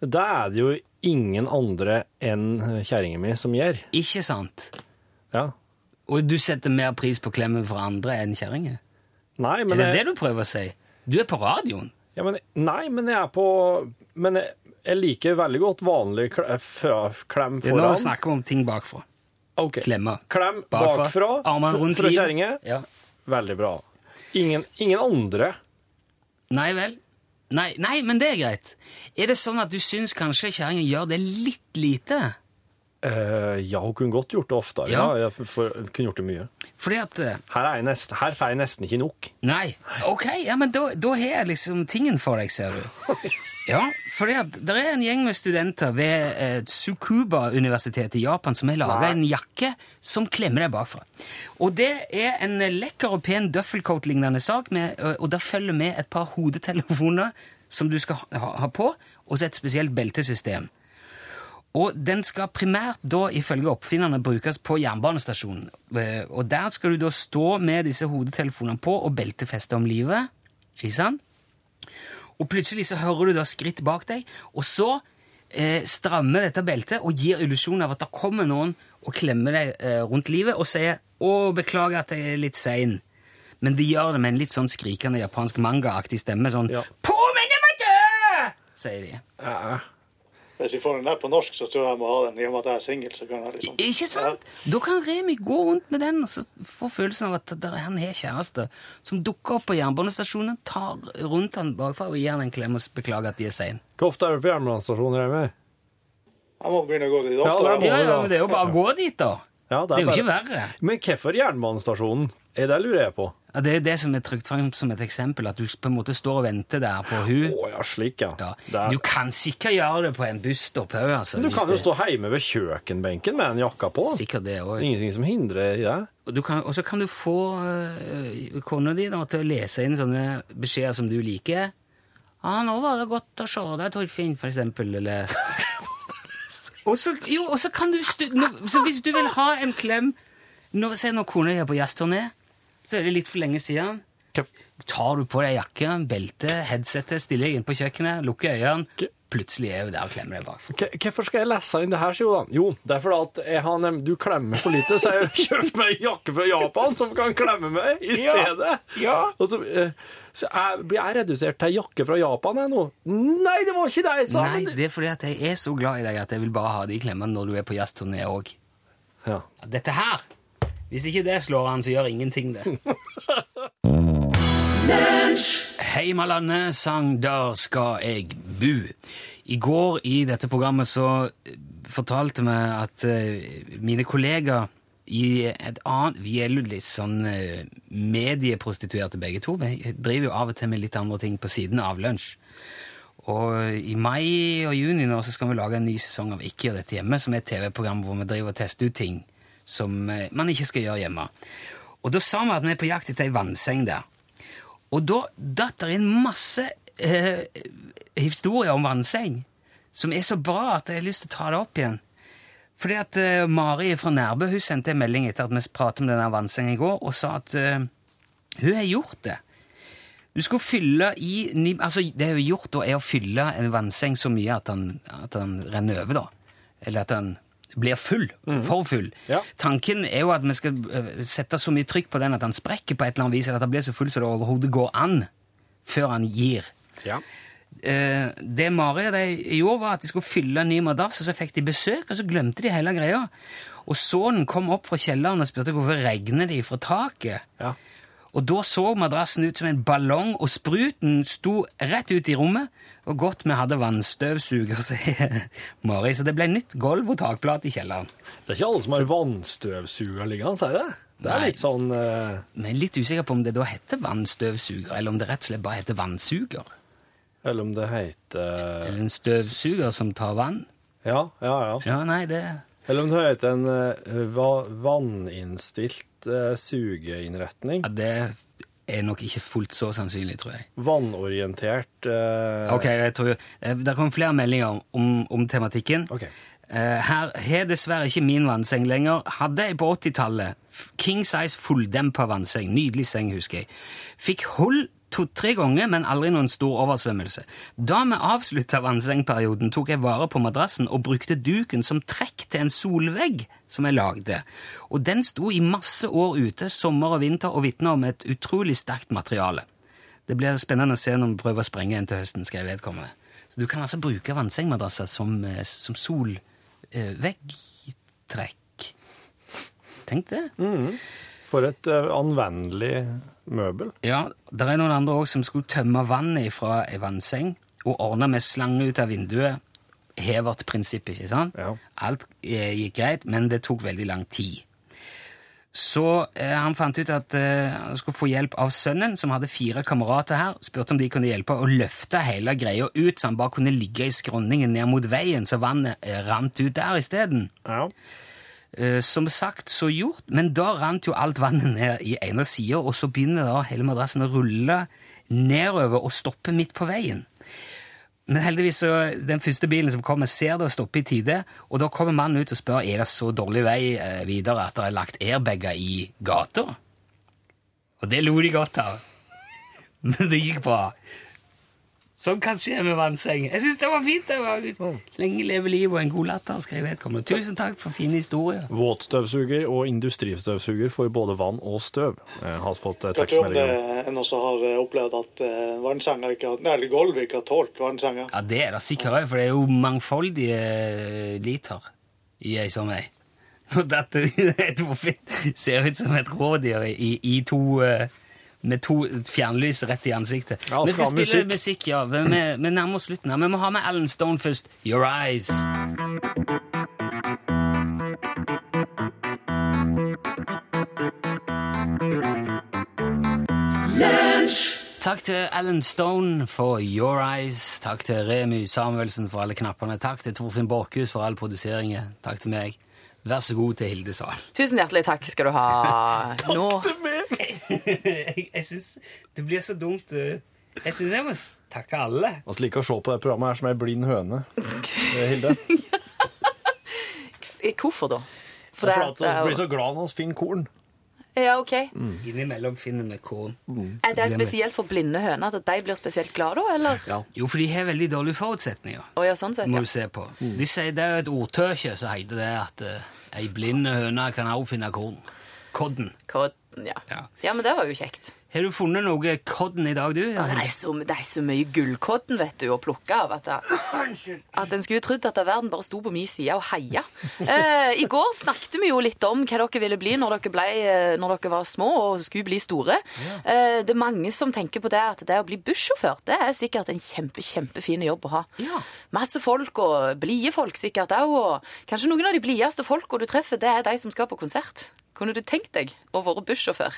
S5: Da er det jo ingen andre enn kjerringa mi som gjør.
S4: Ikke sant?
S5: Ja.
S4: Og du setter mer pris på klemmen fra andre enn kjerringer?
S5: Nei,
S4: Er
S5: men
S4: det det
S5: jeg,
S4: du prøver å si? Du er på radioen.
S5: ja, men, nei, men jeg er på Men jeg, jeg liker veldig godt vanlig kle- fra- klem
S4: Det er Nå
S5: foran.
S4: snakker vi om ting bakfra.
S5: Ok.
S4: Klemmer.
S5: Klem bakfra,
S4: Armene
S5: fra-
S4: rundt
S5: fra
S4: livet.
S5: kjerringa.
S4: Ja.
S5: Veldig bra. Ingen, ingen andre.
S4: Nei vel. Nei, nei, men det er greit. Er det sånn at du syns kanskje kjerringa gjør det litt lite?
S5: Eh, ja, hun kunne godt gjort det oftere. Ja.
S4: Ja.
S5: jeg f- for, kunne gjort det mye.
S4: Fordi at eh,
S5: Her, er jeg nesten, her får jeg nesten ikke nok.
S4: Nei. Ok, ja, men da, da har jeg liksom tingen for deg, ser du. Ja, fordi at det er en gjeng med studenter ved eh, Tsukuba-universitetet i Japan som har laga en jakke som klemmer deg bakfra. Og det er en eh, lekker og pen duffelcoat-lignende sak, med, eh, og og der følger med et par hodetelefoner som du skal ha, ha på, og så et spesielt beltesystem. Og den skal primært da, ifølge oppfinnerne, brukes på jernbanestasjonen. Eh, Og der skal du da stå med disse hodetelefonene på og beltefeste om livet. Ikke sant? Og plutselig så hører du da skritt bak deg, og så eh, strammer dette beltet og gir illusjonen av at det kommer noen og klemmer deg eh, rundt livet og sier 'Å, beklager at jeg er litt sein'. Men de gjør det med en litt sånn skrikende japansk mangaaktig stemme. Sånn
S5: Ja.
S4: 'Påminner meg død!' sier de.
S2: Hvis jeg får den der på norsk, så tror jeg jeg må ha den. I og med at jeg er singel, så kan jeg liksom
S4: Ikke sant? Da kan Remi gå rundt med den og så få følelsen av at der, han har kjæreste som dukker opp på jernbanestasjonen, tar rundt han bakfra og gir han en klem og s- beklager at de er sein.
S5: Hvor ofte er du på jernbanestasjonen, Remi?
S2: Jeg må begynne å gå dit
S5: det
S2: oftere. jeg
S5: er
S2: må.
S4: Ja,
S5: vi
S4: ja,
S5: da.
S4: men det er jo bare å gå dit, da.
S5: Ja,
S4: Det er jo ikke
S5: bare-
S4: verre.
S5: Men hvorfor jernbanestasjonen? Er det lurer jeg på.
S4: Ja, Det er det som er trykt frem som et eksempel, at du på en måte står og venter der på
S5: Å
S4: hun.
S5: ja, slik, ja.
S4: Ja.
S5: Det er-
S4: Du kan sikkert gjøre det på en busstopp òg, altså.
S5: Men du
S4: hvis
S5: kan jo
S4: det-
S5: stå hjemme ved kjøkkenbenken med en jakka på.
S4: Sikkert det også.
S5: Ingenting som hindrer i det.
S4: Og du kan- og så kan du få øh, kona di da, til å lese inn sånne beskjeder som du liker. Ja, 'Nå var det godt å se deg, Torfinn', for eksempel, eller og så, Jo, og så kan du stu, nå, Så hvis du vil ha en klem nå, Se når kona di er på jazzturné, så er det litt for lenge siden.
S5: Hva-
S4: Tar du på deg jakken, beltet, headsetet, stiller deg inn på kjøkkenet, lukker øynene Plutselig er hun der og klemmer deg bakfra.
S5: Hva- Hvorfor skal jeg lese inn det her, sier hun da? Jo, det er fordi at jeg har nem- du klemmer for lite, så jeg har kjøpt meg en jakke fra Japan som kan klemme meg i stedet. Og så, eh, så jeg, blir jeg redusert til en jakke fra Japan jeg nå? Nei, det var ikke det jeg sa!
S4: Nei,
S5: men det-
S4: det er fordi at jeg er så glad i deg at jeg vil bare ha de klemmene når du er på jazzturné òg.
S5: Ja.
S4: Dette her! Hvis ikke det slår han, så gjør ingenting det. Heimalandet sang 'Der skal jeg bu'. I går i dette programmet så eh, fortalte vi at eh, mine kollegaer i et annet Vi er jo litt sånn eh, medieprostituerte begge to. Vi driver jo av og til med litt andre ting på siden av lunsj. Og eh, i mai og juni nå så skal vi lage en ny sesong av Ikke gjør dette hjemme, som er et TV-program hvor vi driver og tester ut ting som eh, man ikke skal gjøre hjemme. Og da sa vi at vi er på jakt etter ei vannseng der. Og da datt det inn masse eh, historier om vannseng som er så bra at jeg har lyst til å ta det opp igjen. Fordi at eh, Mari fra Nærbø hun sendte en melding etter at vi pratet om denne vannsengen i går, og sa at eh, hun har gjort det. Du skulle fylle i nim- Altså, det hun har gjort, da, er å fylle en vannseng så mye at den, at den renner over, da. Eller at den blir full. For full.
S5: Ja.
S4: Tanken er jo at vi skal eh, sette så mye trykk på den at den sprekker på et eller annet vis, eller at den blir så full så det overhodet går an før han gir.
S5: Ja.
S4: Eh, det Mari og de gjorde, var at de skulle fylle en ny madrass, og så fikk de besøk, og så glemte de hele greia. Og sønnen kom opp fra kjelleren og spurte hvorfor regner det fra taket.
S5: Ja.
S4: Og da så madrassen ut som en ballong, og spruten sto rett ut i rommet. Og godt vi hadde vannstøvsuger, sier Mari, så det ble nytt gulv og takplate i kjelleren.
S5: Det er ikke alle som har vannstøvsuger liggende, er det? Det er
S4: Nei.
S5: litt sånn eh,
S4: Men jeg er litt usikker på om det da heter vannstøvsuger, eller om det rett og slett bare heter vannsuger.
S5: Eller om det heter
S4: Eller en støvsuger som tar vann.
S5: Ja, ja, ja.
S4: Ja, nei, det...
S5: Eller om det heter en eh, va vanninnstilt eh, sugeinnretning.
S4: Ja, det er nok ikke fullt så sannsynlig, tror jeg.
S5: Vannorientert eh,
S4: Ok, jeg tror eh, Det kom flere meldinger om, om, om tematikken.
S5: Ok.
S4: Eh, her har dessverre ikke min vannseng lenger. Hadde jeg på 80-tallet. F- King size fulldempa vannseng. Nydelig seng, husker jeg. Fikk hold to-tre ganger, men aldri noen stor oversvømmelse. Da vi avslutta vannsengperioden, tok jeg vare på madrassen og brukte duken som trekk til en solvegg som jeg lagde. Og den sto i masse år ute, sommer og vinter, og vitna om et utrolig sterkt materiale. Det blir spennende å se når vi prøver å sprenge en til høsten, skal jeg vedkomme. Så du kan altså bruke vannsengmadrasser som, eh, som eh, solveggtrekk. Tenk det.
S5: For et eh, anvendelig møbel.
S4: Ja, det er noen andre òg som skulle tømme vannet fra ei vannseng og ordne med slange ut av vinduet. Hevert prinsipp, ikke sant?
S5: Ja.
S4: Alt eh, gikk greit, men det tok veldig lang tid. Så eh, han fant ut at eh, han skulle få hjelp av sønnen, som hadde fire kamerater her. Spurte om de kunne hjelpe å løfte hele greia ut, så han bare kunne ligge i skråningen ned mot veien, så vannet eh, rant ut der isteden.
S5: Ja.
S4: Eh, som sagt, så gjort, men da rant jo alt vannet ned i ene sida, og så begynner da hele madrassen å rulle nedover og stoppe midt på veien. Men heldigvis så den første bilen som kommer, ser det og stopper i tide, og da kommer mannen ut og spør er det så dårlig vei eh, videre at det er lagt airbager i gata. Og det lo de godt av. Men det gikk bra. Sånn kan skje med vannseng. Jeg syns det var fint. det var Lenge leve livet og en god latter, skrev vedkommende. Tusen takk for fine historier.
S5: Våtstøvsuger og industristøvsuger for både vann og støv. Jeg har fått eh,
S2: Jeg tror om det
S5: tekstmelding. om.
S2: er noen som har eh, opplevd at eh, vannsenga ikke har, nei, eller gulvet ikke har tålt vannsenga.
S4: Ja, det er det sikkert òg, for det er jo mangfoldige eh, liter i ei sånn ei. Og dette et hvorfor ser ut som et rådyr i, i to eh, med to fjernlys rett i ansiktet.
S5: Ja, og
S4: vi skal
S5: skal ha
S4: spille musikk, ja. Vi, vi, vi nærmer oss slutten. her. Vi må ha med Alan Stone først. Your Eyes. Takk til Alan Stone for Your Eyes. Takk til Remy Samuelsen for alle knappene. Takk til Torfinn Borchhus for all produseringen. Takk til meg. Vær så god til Hilde Sahl.
S7: Tusen hjertelig takk skal du ha. Nå
S4: jeg jeg syns det blir så dumt. eh. Jeg syns jeg må s- takke alle.
S5: Vi liker å se på det programmet her som ei blind høne, eh, Hilde.
S7: eh, Hvorfor da?
S5: For at
S7: det sånn. er
S5: vi blir
S7: jo-
S5: så glad når vi finner korn.
S7: Ja, ok.
S4: Innimellom finner vi korn.
S7: Er det spesielt for blinde høner at de blir spesielt glade da, eller?
S5: Ja.
S4: Jo, for de har veldig dårlige forutsetninger.
S7: Å ja, sånn sett,
S4: Må
S7: ja.
S4: du se på. De sier det er et ordtøkje som heter det at eh, ei blind høne kan også finne korn. Kodden.
S7: Hva- ja.
S4: Ja.
S7: Ja, men det var jo kjekt.
S4: Har du funnet noe kodden i dag, du?
S7: Det er, så, det er så mye gullkodden, vet du, å plukke av at, det, at en skulle trodd at verden bare sto på min side og heia. Eh, I går snakket vi jo litt om hva dere ville bli når dere, ble, eh, når dere var små og skulle bli store. Eh, det er mange som tenker på det at det å bli bussjåfør, det er sikkert en kjempe, kjempefin jobb å ha.
S4: Ja.
S7: Masse folk og blide folk sikkert òg, og kanskje noen av de blideste folka du treffer, det er de som skal på konsert. Kunne du tenkt deg å være bussjåfør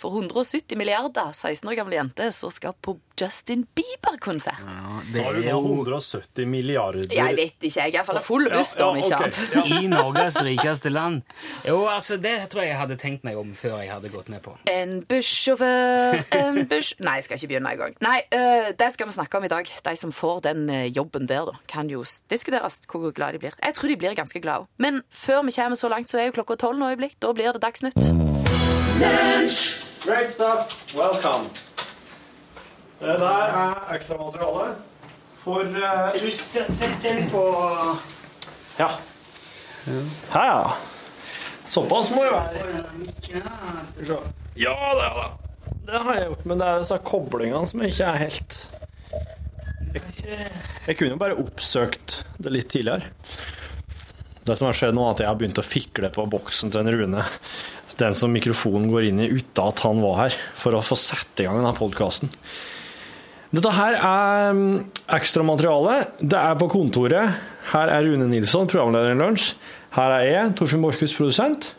S7: for 170 milliarder 16 år gamle jente som skal på Justin Bieber-konsert?
S4: Ja,
S5: Da
S4: det
S5: har
S4: er
S5: du da
S4: jo
S5: 170 milliarder
S7: Jeg vet ikke, jeg er iallfall full buss, da,
S5: Ja,
S7: om
S5: ja, ok.
S7: ikke annet.
S4: i Norges rikeste land. Jo, altså, det tror jeg jeg hadde tenkt meg om før jeg hadde gått med på.
S7: En bussjåfør, en buss... Nei, jeg skal ikke begynne engang. Nei, øh, det skal vi snakke om i dag. De som får den øh, jobben der, da, kan jo s- diskuteres hvor glad de blir. Jeg tror de blir ganske glade. Men før vi kommer så langt, så er jo klokka tolv nå i blikk. Da blir det Dagsnytt.
S8: Great stuff. Welcome.
S5: Det der er ekstramateriale for eh,
S4: Du set- Sett den på
S5: Ja. Her, ja. Såpass må det være. Skal vi se. Ja, det er det. Det har jeg gjort, men det er disse koblingene som ikke er helt Jeg kunne jo bare oppsøkt det litt tidligere. Det som har skjedd nå, er at jeg har begynt å fikle på boksen til en Rune. Den som mikrofonen går inn i uten at han var her, for å få sette i gang denne podkasten. Dette her er mm, ekstramateriale. Det er på kontoret. Her er Rune Nilsson, programleder i Lunsj. Her er jeg, Torfinn Borchhus, produsent.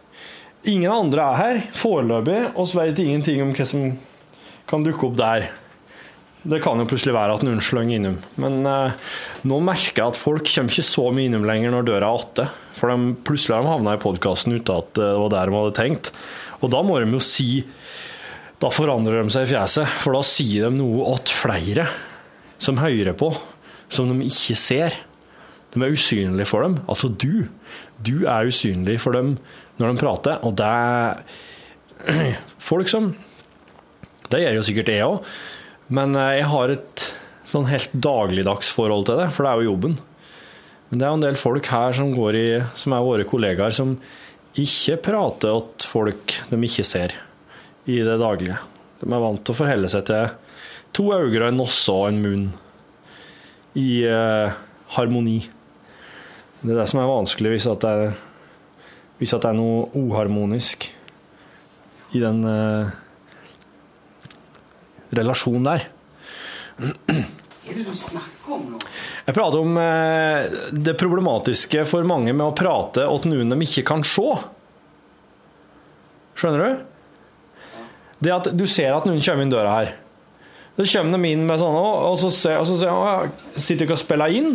S5: Ingen andre er her foreløpig. oss vet ingenting om hva som kan dukke opp der. Det kan jo plutselig være at noen slenger innom. Men eh, nå merker jeg at folk kommer ikke så mye innom lenger når døra er åtte. For de, plutselig har de havna i podkasten uten at det var der de hadde tenkt. Og da må de jo si da forandrer de seg i fjeset, for da sier de noe åt flere som hører på, som de ikke ser. De er usynlige for dem. Altså du. Du er usynlig for dem når de prater, og det er folk som Det gjør jo sikkert jeg òg, men eh, jeg har et sånn helt dagligdags forhold til det, for det er jo jobben. Men det er jo en del folk her som, går i, som er våre kollegaer, som ikke prater åt folk de ikke ser i det daglige. De er vant til å forholde seg til to øyne, en nosse og en munn i eh, harmoni. Det er det som er vanskelig hvis at det er, hvis at det er noe uharmonisk i den eh, relasjonen der.
S4: Hva er det du snakker om nå?
S5: Jeg prater om eh, det problematiske for mange med å prate åt noen de ikke kan se. Skjønner du? Det at du ser at noen kommer inn døra her. Så kommer de inn med sånne, og så ser og så ser, «Å, ja, sitter dere og spiller inn?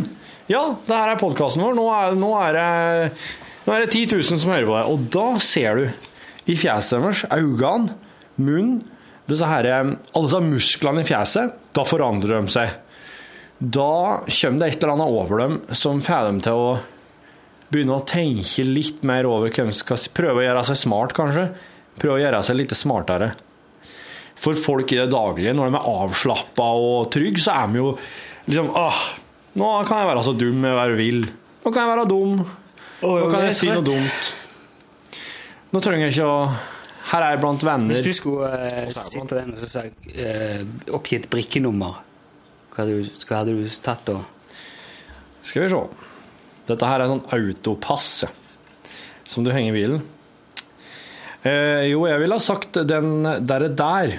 S5: Ja, det her er podkasten vår. Nå er, nå, er det, nå er det 10 000 som hører på deg. Og da ser du i fjeset deres, øynene, munnen, disse her, eh, alle disse musklene i fjeset. Da forandrer de seg da kommer det et eller annet over dem som får dem til å begynne å tenke litt mer over hvem som skal prøve å gjøre seg smart, kanskje. Prøve å gjøre seg litt smartere. For folk i det daglige, når de er avslappa og trygge, så er de jo liksom Åh, nå kan jeg være så dum jeg bare vil. Nå kan jeg være dum. Nå kan jeg si noe dumt. Nå trenger jeg ikke å Her er jeg blant venner.
S4: Hvis du skulle eh, sitte på den og så sa jeg, eh, oppgitt brikkenummer, hva hadde du, hva hadde du tatt da?
S5: Skal vi se. Dette her er sånn autopass som du henger i bilen. Eh, jo, jeg ville ha sagt den der er der.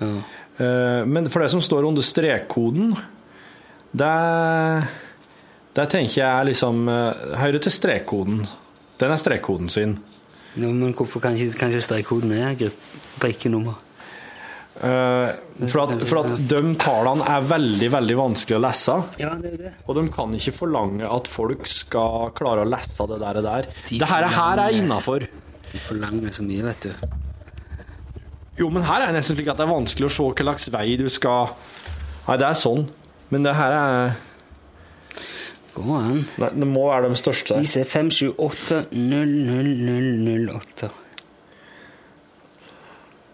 S4: Ja.
S5: Eh, men for det som står under strekkoden, det, det tenker jeg er liksom eh, Hører til strekkoden. Den er strekkoden sin.
S4: Nå, men hvorfor kan ikke, kan ikke strekkoden er grupp- brikkenummer?
S5: Eh, for, at, for at de tallene er veldig, veldig vanskelig å lese.
S4: Ja, det er jo det.
S5: Og de kan ikke forlange at folk skal klare å lese det der. og der.
S4: De
S5: Det her, her er
S4: forlanger-
S5: innafor.
S4: De forlanger så mye, vet du.
S5: Jo, men her er det nesten slik at det er vanskelig å se hva slags vei du skal Nei, det er sånn. Men det her er
S4: Går an.
S5: Nei, Det må være de største.
S4: Vi ser 578-00008.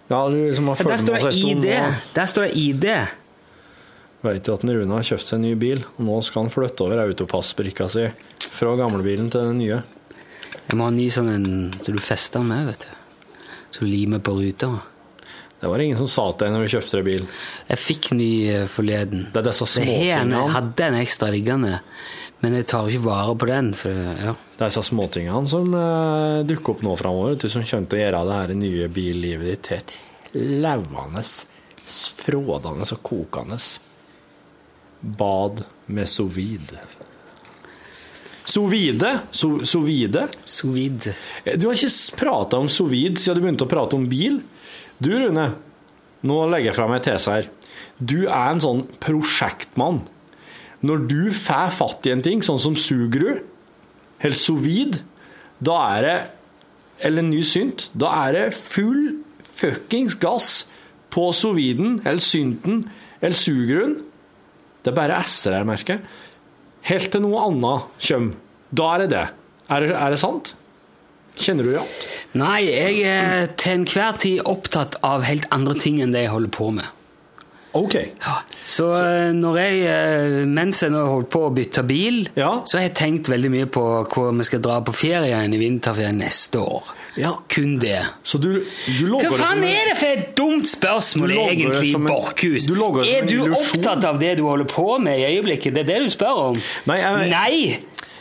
S5: Ja, du liksom har
S4: Der
S5: følt med
S4: står
S5: oss
S4: det
S5: en stund.
S4: ID!
S5: og
S4: Der står det ID!
S5: Vet jo at Rune har kjøpt seg en ny bil, og nå skal han flytte over autopassbrikka si fra gamlebilen til den nye.
S4: Jeg må ha en ny sånn en så du fester den med, vet du. Så du limer på ruta.
S5: Det var ingen som sa til deg når vi kjøpte deg bil.
S4: Jeg fikk ny eh, forleden.
S5: Det er disse
S4: Det her, jeg
S5: småtingene
S4: hadde en ekstra liggende, men jeg tar ikke vare på den. For, ja.
S5: Det er disse småtingene som eh, dukker opp nå framover. Du som kommer til å gjøre det her nye billivet ditt til et levende, frådende og kokende bad med sous vide. Sous vide? Sous sous vide?
S4: Sous vide.
S5: Du har ikke prata om sous vide siden du begynte å prate om bil. Du, Rune, nå legger jeg fra meg tese her. Du er en sånn prosjektmann. Når du får fatt i en ting, sånn som sugerud, eller sous vide, da er det Eller ny synt. Da er det full fuckings gass på sous viden, eller synten, eller sugeruen. Det er bare s-er her, merker jeg. Helt til noe annet kommer. Da er det det. Er det, er det sant? Kjenner du ja?
S4: Nei, jeg er til enhver tid opptatt av helt andre ting enn det jeg holder på med.
S5: OK.
S4: Så eh, når jeg, eh, mens jeg nå holdt på å bytte bil,
S5: Ja.
S4: så har jeg tenkt veldig mye på hvor vi skal dra på ferie igjen i vinterferien neste år.
S5: Ja.
S4: Kun det.
S5: Så du, du
S4: Hva
S5: logger
S4: faen er det for et dumt
S5: Du
S4: spørsmål
S5: logger det
S4: egentlig,
S5: som en-
S4: Borkhus?
S5: du logger det som
S4: er
S5: en
S4: du
S5: illusjon.
S4: opptatt av det du holder på med i øyeblikket? Det er det du spør om?
S5: Nei, jeg-
S4: Nei!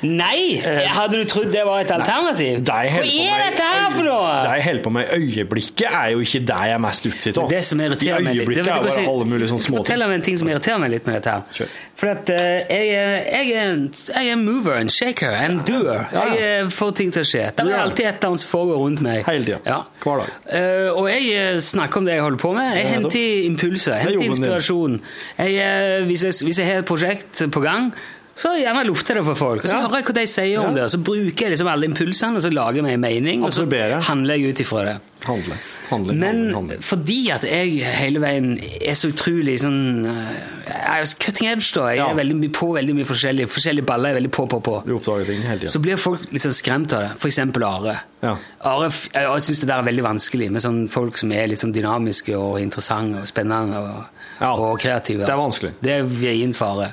S4: Nei! Hadde du trodd det var et alternativ?
S5: Det jeg
S4: Hva er
S5: holder på med i
S4: dette her for noe?
S5: øye- Det jeg holder på med i øyeblikket, er jo ikke det jeg er mest opptatt av.
S4: Det som irriterer
S5: I
S4: meg litt Vet
S5: øyeblikket
S4: du
S5: er
S4: hva
S5: bare
S4: som-
S5: alle mulige sånne
S4: Fortell
S5: småting.
S4: om en ting som irriterer meg litt med dette her.
S5: Kjør.
S4: For at eh, jeg, er- jeg, er en, jeg er en mover, en shaker, en doer.
S5: Ja.
S4: Jeg eh, får ting til å skje. Det er
S5: Ja.
S4: alltid et eller annet som foregår rundt meg.
S5: Hele tiden. Hver dag.
S4: Eh, og jeg eh, snakker om det jeg holder på med. Jeg
S5: Ja, nettopp.
S4: henter impulser,
S5: Det er
S4: henter
S5: jobben din.
S4: inspirasjon. Jeg, eh, hvis, jeg, hvis jeg har et prosjekt på gang, så gjerne lufter jeg det for folk. Og så hører jeg hva de sier om
S5: Ja.
S4: det, og så bruker jeg liksom alle impulsene, og så lager jeg meg en mening, og så
S5: Absorberer.
S4: handler jeg ut ifra det.
S5: Handle. Handling, handling,
S4: Men
S5: handling.
S4: fordi at jeg hele veien er så utrolig sånn eh, Jeg er cutting edge, da. Jeg
S5: Ja.
S4: er veldig mye på veldig mye forskjellig. Forskjellige baller er veldig på, på, på.
S5: Du oppdager ting hele tiden.
S4: Så blir folk litt sånn skremt av det. For eksempel Are.
S5: Ja.
S4: Are f- jeg jeg syns det der er veldig vanskelig med sånn folk som er litt sånn dynamiske og interessante og spennende og,
S5: Ja.
S4: og kreative.
S5: Det er vanskelig.
S4: Det er vrient for Are.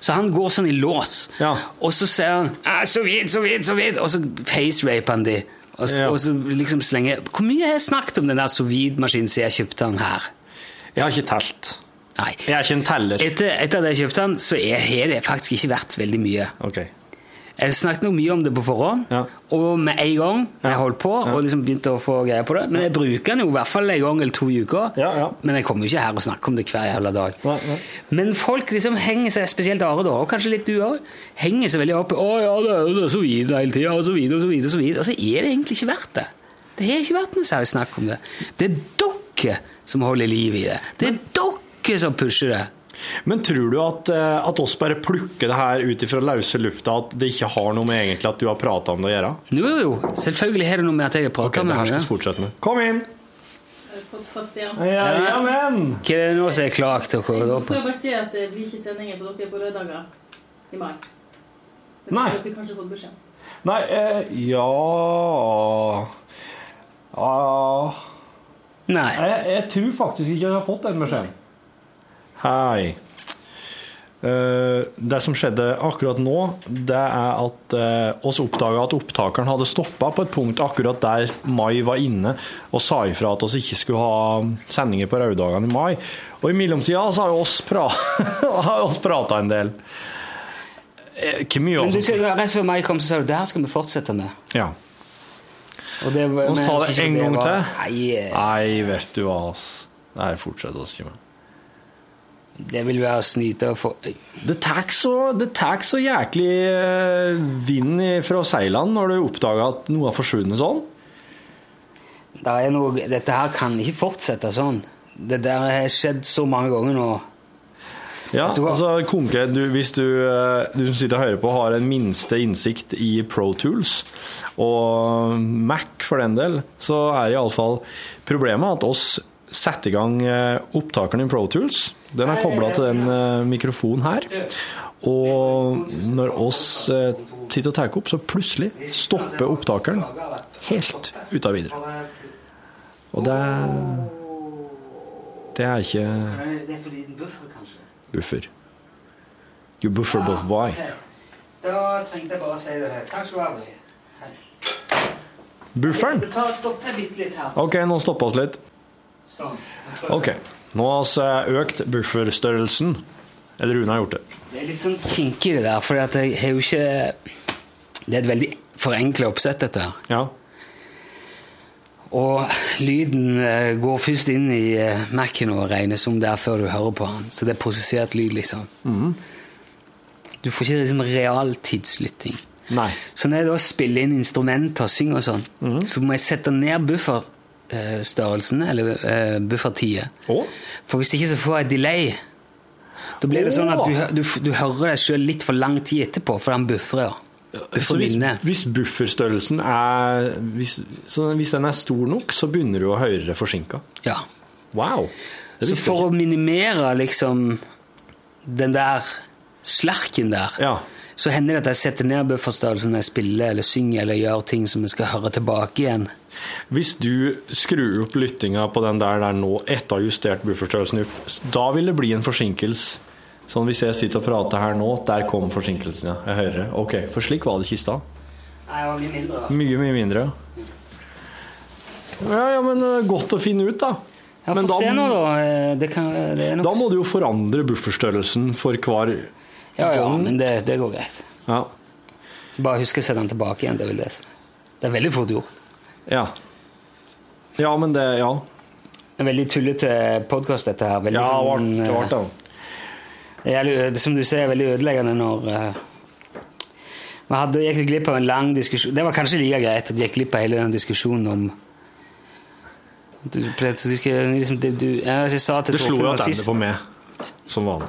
S4: Så han går sånn i lås,
S5: Ja.
S4: og så sier han «Ah, 'så vidt, så vidt, så vidt', og så face-raper han de. Og så,
S5: Ja.
S4: og så liksom slenger Hvor mye har jeg snakket om den der sous-vide-maskinen siden jeg kjøpte den her?
S5: Jeg har ikke telt.
S4: Nei.
S5: Jeg er ikke en teller.
S4: Etter, etter at jeg kjøpte den, så er- har det faktisk ikke vært veldig mye.
S5: Ok.
S4: Jeg snakket nok mye om det på forhånd,
S5: Ja.
S4: og med en gang jeg
S5: Ja.
S4: holdt på, og liksom begynte å få greie på det. Men jeg bruker den jo i hvert fall en gang eller to i uka.
S5: Ja, ja.
S4: Men jeg kommer jo ikke her og snakker om det hver jævla dag.
S5: Nei, nei.
S4: Men folk liksom henger seg, spesielt Are da, og kanskje litt du òg, henger seg veldig opp i 'Å ja, det er jo det, så videre hele tida', og så videre, og så videre, og så videre. Og så er det egentlig ikke verdt det. Det har ikke vært noe særlig snakk om det. Det er dere som holder liv i det. Det er dere som pusher det.
S5: Men tror du at, eh, at oss bare plukker det her ut ifra løse lufta, at det ikke har noe med egentlig at du har prata om det å gjøre?
S4: Jo, jo, jo. Selvfølgelig har det noe med at jeg har prata
S5: Ok, det
S4: med
S5: her skal
S4: henne.
S5: vi fortsette med. Kom inn!
S8: Podkast, ja.
S5: Ja,
S4: Ja.
S5: men.
S4: Hva er det nå som er klagt? og hva er
S8: Nå får
S4: det på?
S8: jeg bare si at det blir ikke sendinger på dere på lørdager i mai. Det
S5: Nei.
S8: har dere kanskje fått beskjed om.
S5: Nei, eh, ja Ja
S4: Nei.
S5: jeg, tror faktisk ikke jeg har fått den beskjeden. Hei. Eh, det som skjedde akkurat nå, det er at eh, oss oppdaga at opptakeren hadde stoppa på et punkt akkurat der Mai var inne og sa ifra at oss ikke skulle ha sendinger på røddagene i mai. Og i mellomtida så har jo oss, pra har oss prata en del. Eh, Hvor mye
S4: Men du,
S5: altså?
S4: sier- rett før meg kom, så sa du det her skal vi fortsette med.
S5: Ja.
S4: Og det, var-
S5: Nå
S4: men jeg
S5: tar det
S4: synes ikke
S5: en gang
S4: var-
S5: til.
S4: Nei, eh,
S5: Nei, vet du hva, ass. Nei, fortsett oss ikke med.
S4: det vil være å snyte og få
S5: Det tar så, det tar så jæklig eh, vind i- fra seilene når du oppdager at noe har forsvunnet sånn.
S4: Det er noe, Dette her kan ikke fortsette sånn. Det der har skjedd så mange ganger nå.
S5: Ja,
S4: du hva?
S5: altså konkret, du, Hvis du, eh, du som sitter og hører på, har en minste innsikt i Pro Tools og Mac for den del, så er iallfall problemet at oss setter i gang eh, opptakeren i Pro Tools. Den er kobla til den eh, mikrofonen her. Og når oss eh, sitter og tar opp, så plutselig stopper opptakeren helt ut av videre. Og det Det er ikke
S4: Det er for liten buffer, kanskje.
S5: buffer. You buffer both why?
S4: Da trengte jeg bare å si det høyt. Takk skal du ha.
S5: Bufferen?
S4: tar og stopper bitte litt her.
S5: Ok, nå stopper oss litt.
S4: Sånn.
S5: Ok, nå har vi eh, økt bufferstørrelsen. Eller Rune har gjort det.
S4: Det er litt sånn kinkig det der, for jeg har jo ikke Det er et veldig forenkla oppsett, dette her.
S5: Ja.
S4: Og lyden eh, går først inn i eh, Mac-en og regnes som der før du hører på den. Så det er prosessert lyd, liksom. Du får ikke liksom realtidslytting.
S5: Nei.
S4: Så når jeg da spiller inn instrumenter, synger og sånn, så må jeg sette ned bufferstørrelsen, eller eh, buffertida.
S5: Å?
S4: For hvis ikke så får jeg delay. Da blir det sånn at du, hø- du, f- du hører deg sjøl litt for lang tid etterpå, for den bufrer.
S5: Så
S4: Buffer
S5: hvis,
S4: minnet.
S5: hvis bufferstørrelsen er hvis, så hvis den er stor nok, så begynner du å høre det forsinka.
S4: Ja.
S5: Wow.
S4: Så
S5: Det visste
S4: for å
S5: jeg ikke.
S4: minimere liksom den der slerken der,
S5: Ja.
S4: så hender det at jeg setter ned bufferstørrelsen når jeg spiller eller synger eller gjør ting som jeg skal høre tilbake igjen.
S5: Hvis du skrur opp lyttinga på den der der nå etter å ha justert bufferstørrelsen opp, da vil det bli en forsinkelse. Sånn hvis jeg sitter og prater her nå, der kom forsinkelsen, ja. Jeg hører det. Ok, for slik var det ikke i stad.
S4: Nei, det var mye mindre, da.
S5: Mye, mye mindre. Ja, ja, men eh, godt å finne ut, da.
S4: Ja,
S5: Men
S4: Få
S5: da-
S4: se nå, da. Eh, Det, kan, det er nok
S5: Da må du jo forandre bufferstørrelsen for hver
S4: Ja, ja, men det, det går greit.
S5: Ja.
S4: Bare husk å sette den tilbake igjen. Det er vel det. som- Det er veldig fort gjort.
S5: Ja, ja men det Ja.
S4: En veldig tullete podkast, dette her. Veldig
S5: Ja,
S4: sånn,
S5: vart,
S4: eh,
S5: vart det.
S4: Jævlig øde- som du ser, veldig ødeleggende når eh, Vi hadde, gikk glipp av en lang diskusjon Det var kanskje like greit at vi gikk glipp av hele den diskusjonen om du, du, skal liksom, det, du, ja, jeg sa til
S5: Det slo
S4: Torfinn
S5: jo
S4: var
S5: attende
S4: sist-
S5: på meg, som vanlig.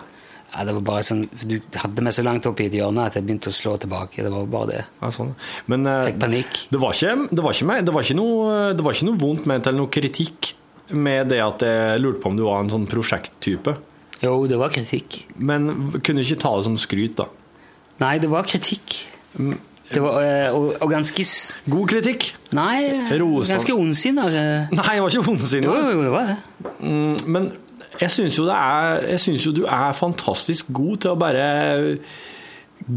S4: Ja, det var bare sånn, for Du hadde meg så langt opp i et hjørne at jeg begynte å slå tilbake. Det var bare det.
S5: Ja, sånn. Men eh,
S4: Fikk panikk.
S5: det var ikke, det var ikke, meg, det var ikke, noe, det var ikke noe vondt ment eller noe kritikk med det at jeg lurte på om du var en sånn prosjekttype.
S4: Jo, det var kritikk.
S5: Men kunne ikke ta det som skryt, da.
S4: Nei, det var kritikk.
S5: Mm.
S4: Det var, eh, og, og ganske s-
S5: God kritikk!
S4: Nei,
S5: Rosa.
S4: ganske ondsinna. eh.
S5: Nei, jeg var ikke vondsinna.
S4: Jo, jo, jo, det var det.
S5: Mm, Men jeg syns jo, det er- jeg synes jo du er fantastisk god til å bare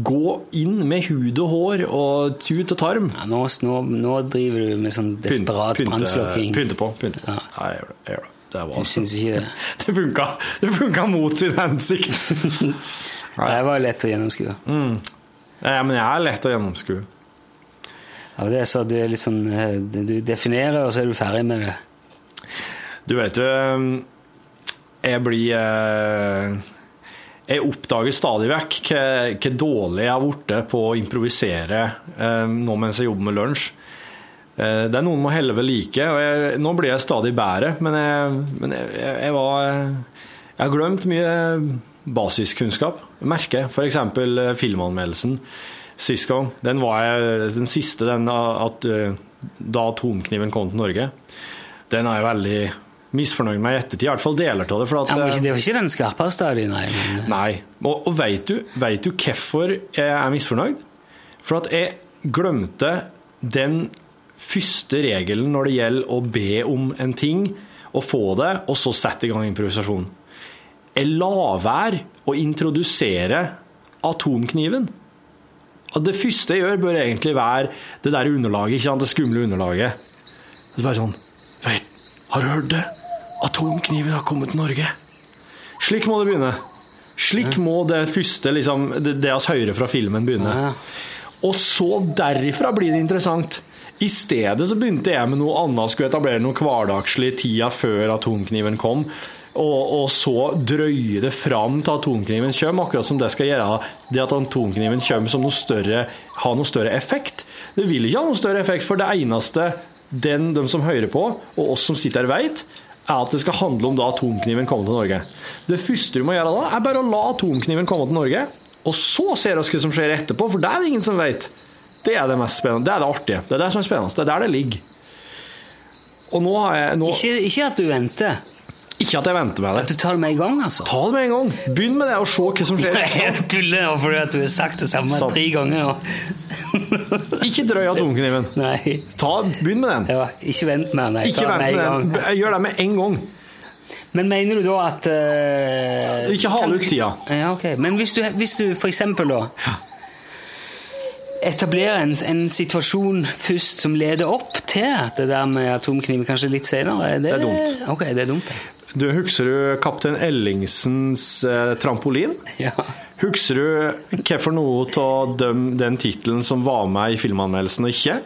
S5: gå inn med hud og hår og tut og tarm.
S4: Ja, nå, nå, nå driver du med sånn
S5: Pynt-
S4: desperat
S5: pynte-
S4: brannslukking.
S5: Pynte på. Pynte på.
S4: Ja.
S5: Nei, jeg gjør det. Jeg gjør det. Det var
S4: Du
S5: altså-
S4: syns ikke det?
S5: Det funka, det funka mot sin hensikt.
S4: Det var lett å gjennomskue.
S5: Mm. Nei, men jeg er lett å gjennomskue.
S4: Ja, det er så du, er litt sånn, eh, du definerer, og så er du ferdig med det.
S5: Du vet jo Jeg blir eh, Jeg oppdager stadig vekk hva- hvor dårlig jeg har blitt på å improvisere eh, nå mens jeg jobber med lunsj. Eh, Det er noen må helle ved like. Og jeg, nå blir jeg stadig bedre, men jeg, men jeg, jeg, jeg var Jeg har glemt mye basiskunnskap. Merker f.eks. eh, filmanmeldelsen sist gang. Den var jeg den siste, den av- at eh, da atomkniven kom til Norge. Den er jeg veldig misfornøyd med i ettertid, i hvert fall deler av det. For at,
S4: Ja, men ikke,
S5: eh,
S4: det var ikke den skarpeste av de, nei. Men, eh,
S5: Nei. Og, og veit du, vet du hvorfor jeg er misfornøyd? For at jeg glemte den første regelen når det gjelder å be om en ting, og få det, og så sette i gang improvisasjon. Jeg la være å introdusere atomkniven. At det første jeg gjør, bør egentlig være det der underlaget, ikke sant? det skumle underlaget. Og så bare sånn Veit, har du hørt det? Atomkniven har kommet til Norge. Slik må det begynne. Slik må det første, liksom, det det oss hører fra filmen, begynne.
S4: Ja.
S5: Og så derifra blir det interessant. I stedet så begynte jeg med noe annet, skulle etablere noe hverdagslig i tida før atomkniven kom. Og, og så drøye det fram til atomkniven kommer, akkurat som det skal gjøre det at atomkniven kommer som noe større, har noe større effekt. Det vil ikke ha noe større effekt, for det eneste den, de som hører på, og oss som sitter her, veit, er at det skal handle om da atomkniven kommer til Norge. Det første du må gjøre da, er bare å la atomkniven komme til Norge, og så ser vi hva som skjer etterpå, for det er det ingen som veit. Det er det mest spennende. Det er det artige. Det er det som er spennende. Det er der det ligger. Og nå har jeg nå, ikke,
S4: ikke, ikke at du venter.
S5: at jeg venter med
S4: At
S5: det.
S4: du tar det med i gang, altså.
S5: Ta det med en gang. Begynn med det, og se hva som skjer.
S4: Jeg tuller nå fordi at du har sagt det samme
S5: Sant.
S4: tre ganger. nå.
S5: Ikke drøy atomkniven.
S4: Nei.
S5: Ta, begynn med den.
S4: Ja, ikke vent mer, nei.
S5: Ikke
S4: Ta det
S5: vent
S4: med i
S5: med
S4: gang.
S5: den. Gjør det med en gang.
S4: Men mener du da at eh,
S5: Ikke hale
S4: kan-
S5: ut tida.
S4: Ja, ok. Men hvis du, hvis du for eksempel da etablerer en, en situasjon først som leder opp til det der med atomkniv kanskje litt senere
S5: Det er dumt.
S4: Ok, det er dumt. ja.
S5: Du, Husker du kaptein Ellingsens eh, trampolin?
S4: Ja.
S5: Husker du hvorfor noe av dem- den tittelen som var med i filmanmeldelsen og ikke?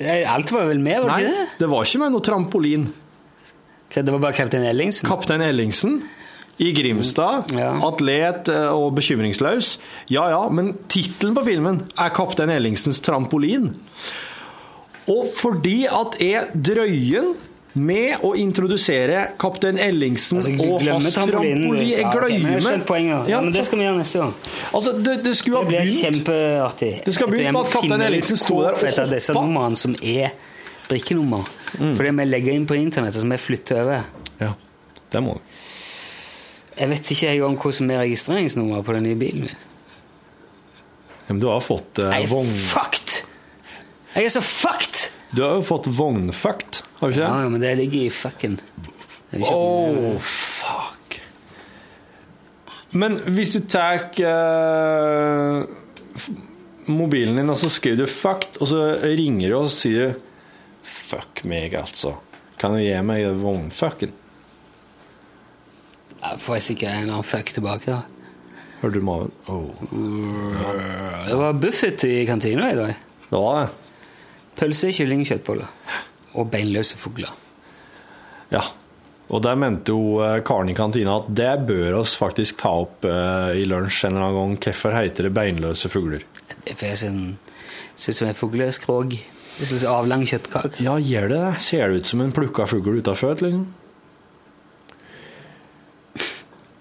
S4: Eh, Alt var vel med, var det ikke det?
S5: det var ikke med noe trampolin.
S4: Hva, Det var bare kaptein Ellingsen?
S5: Kaptein Ellingsen i Grimstad,
S4: Mm. Ja.
S5: atlet eh, og bekymringsløs. Ja ja, men tittelen på filmen er 'Kaptein Ellingsens trampolin'. Og fordi at er drøyen med å introdusere kaptein Ellingsen
S4: Altså, du
S5: og
S4: glemmer
S5: hans
S4: trampolinen, du.
S5: trampolin Jeg
S4: Ja, ok, men jeg har skjønt poenget.
S5: glemmer
S4: Ja, men det skal vi gjøre neste gang.
S5: Altså, det, det skulle
S4: Det
S5: ha
S4: blir
S5: begynt
S4: kjempeartig.
S5: Det skal
S4: Vet du,
S5: begynne
S4: jeg
S5: på
S4: må
S5: at Kaptein
S4: finne
S5: Ellingsen
S4: ut
S5: sto der og Mm.
S4: hvorfor dette er disse
S5: hoppa.
S4: numrene som er brikkenummer. For det vi legger inn på internett, og som vi flytter over.
S5: Ja, det må du.
S4: Jeg vet ikke engang hva som er registreringsnummeret på den nye bilen min.
S5: Ja, men du har fått eh,
S4: Jeg er
S5: vogn...
S4: fucked! Jeg Jeg er så fucked!
S5: Du har jo fått vognfucked, har du ikke?
S4: Ja,
S5: det?
S4: ja, men det ligger i fucken. Det er ikke-
S5: Åh, fuck. Men hvis du tar eh, f- mobilen din, og så skriver du 'fucked', og så ringer du og sier 'fuck meg', altså. Kan du gi meg det vognfucken?
S4: Ja, får jeg sikkert en annen fuck tilbake, da.
S5: Hører du maven? Åh,
S4: Det var Buffett i kantina i dag.
S5: Det var det.
S4: Pølse, kylling, kjøttboller. Og beinløse fugler.
S5: Ja. Og der mente jo eh, karen i kantina at det bør oss faktisk ta opp eh, i lunsj en eller annen gang. Hvorfor heter det beinløse fugler?
S4: For jeg ser ser ut som en fugleskrog. En slags sånn avlang kjøttkake.
S5: Ja, gjør det det? Ser det ut som en plukka fugl utafor et, liksom?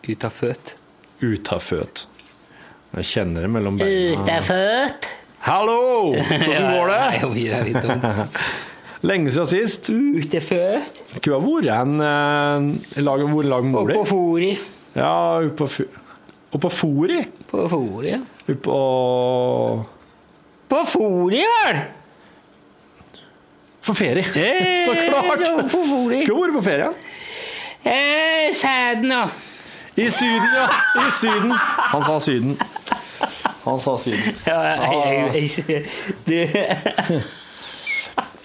S4: Ut av føt.
S5: Utafor et. Jeg kjenner det mellom beina.
S4: føt?
S5: Hallo! Hvordan går det?
S4: Nei, jeg vet ikke.
S5: Lenge siden sist.
S4: Ut av føt.
S5: Kunne ha vært en eh, lag, hvor lag med mor
S4: Oppå
S5: di.
S4: fôret.
S5: Ja, oppå fu- Oppå fori.
S4: På fôret, ja.
S5: Oppå
S4: På fôret, vel!
S5: For ferie.
S4: Eh,
S5: Så klart!
S4: ja, på fori.
S5: Hvor var du på ferie?
S4: Eh, sæden og
S5: I Syden, ja! I Syden. Han sa Syden. Han sa Syden.
S4: Ja, jeg- jeg- jeg- det-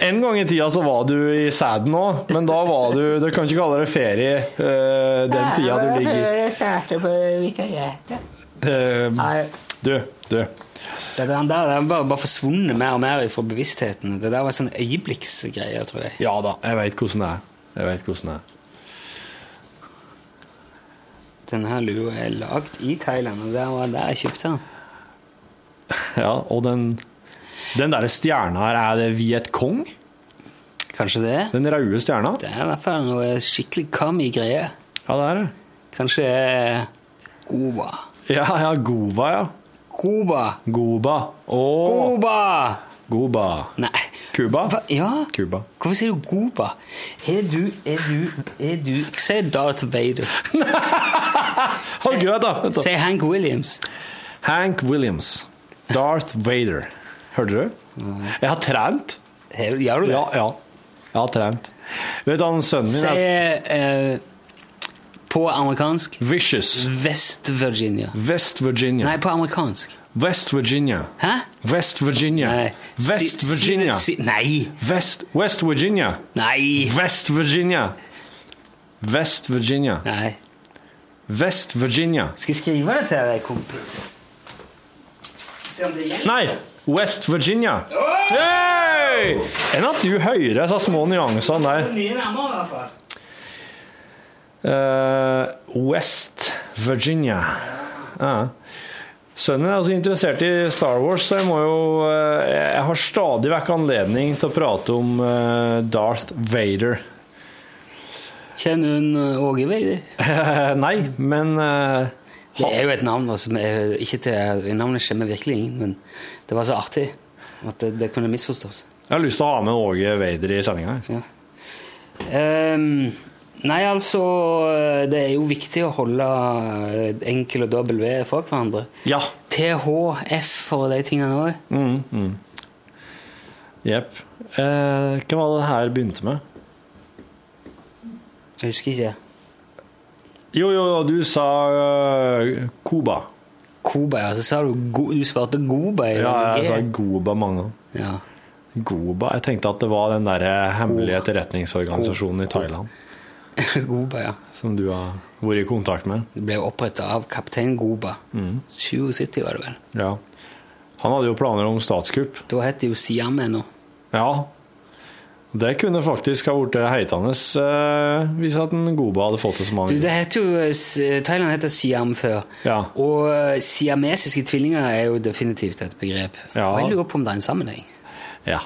S5: En gang i tida så var du i Sæden òg, men da var du Du kan ikke kalle det ferie eh, den tida du ligger
S4: Jeg starter på vikariatet.
S5: eh,
S4: Nei,
S5: Du, du.
S4: Det der, det der bare, bare forsvunnet mer og mer fra bevisstheten. Det der var sånn øyeblikksgreie, tror jeg.
S5: Ja da, jeg veit hvordan det er. Jeg vet hvordan det er.
S4: Denne her lua er lagd i Thailand, og det var der jeg kjøpte den.
S5: Ja, og den den derre stjerna her, er det Viet Cong?
S4: Kanskje det?
S5: Den røde stjerna?
S4: Det er i hvert fall noe skikkelig kami-greie.
S5: Ja, det er det.
S4: Kanskje Cuba.
S5: Ja, ja, Goba, ja.
S4: Cuba!
S5: Goba. Å,
S4: Cuba!
S5: Goba.
S4: Nei.
S5: Cuba?
S4: Hva? Ja.
S5: Cuba.
S4: Hvorfor sier du Cuba? Er du Er du, er du Si Darth Vader.
S5: Å, gud, da. Vent da.
S4: Si Hank Williams.
S5: Hank Williams. Darth Vader. Hørte du? Jeg har trent.
S4: Her- Gjør du det?
S5: Ja, ja. Jeg har trent. Vet du, han sønnen min
S4: Si
S5: er
S4: eh, På amerikansk
S5: Vicious.
S4: West Virginia.
S5: West Virginia.
S4: Nei, på amerikansk.
S5: West Virginia.
S4: Hæ?
S5: West Virginia.
S4: Nei.
S5: West
S4: Si- si-
S5: Virginia.
S4: si- nei!
S5: West, West Virginia.
S4: Nei!
S5: West Virginia. West Virginia.
S4: Nei.
S5: West Virginia.
S4: Skal jeg skrive det til deg, kompis? Se om det gjelder.
S5: Nei, West Virginia. Hey! Enn at du hører disse små nyansene der.
S4: Mye nærmere, i hvert fall.
S5: Eh, West Virginia. Ja. Sønnen er også interessert i Star Wars, så jeg må jo eh, Jeg har stadig vekk anledning til å prate om eh, Darth Vader.
S4: Kjenner hun eh, Åge Veide?
S5: Nei, men eh,
S4: Det er jo et navn da, som er ikke til eh, Navnet skjemmer virkelig ingen, men det var så artig at det, det kunne misforstås.
S5: jeg har lyst til å ha med Åge Vader i sendinga.
S4: Ja. Ehm, nei, altså Det er jo viktig å holde eh, enkel og dobbel V fra hverandre.
S5: Ja.
S4: THF for de tingene òg.
S5: Mm, mm. Jepp. Eh, hva var det her begynte med?
S4: Jeg husker ikke.
S5: Jo, jo, jo, du sa eh, Cuba.
S4: Koba, ja. Så sa du go Du svarte Goba. i
S5: Ja, jeg
S4: G.
S5: sa Goba mange ganger.
S4: ja.
S5: Goba? Jeg tenkte at det var den der hemmelige etterretningsorganisasjonen i Thailand
S4: Goba, ja.
S5: som du har vært i kontakt med.
S4: Det ble oppretta av kaptein Goba.
S5: Mm.
S4: 77 var det vel.
S5: Ja. Han hadde jo planer om statskupp.
S4: Da het det jo Siam ennå.
S5: Ja. Det kunne faktisk ha blitt heitende eh, hvis at en Goba hadde fått det som han
S4: Du, det
S5: ville.
S4: heter jo eh, S- Thailand heter Siam før.
S5: Ja.
S4: Og eh, siamesiske tvillinger er jo definitivt et begrep.
S5: Ja.
S4: Og jeg lurer på om det er en sammenheng.
S5: Ja.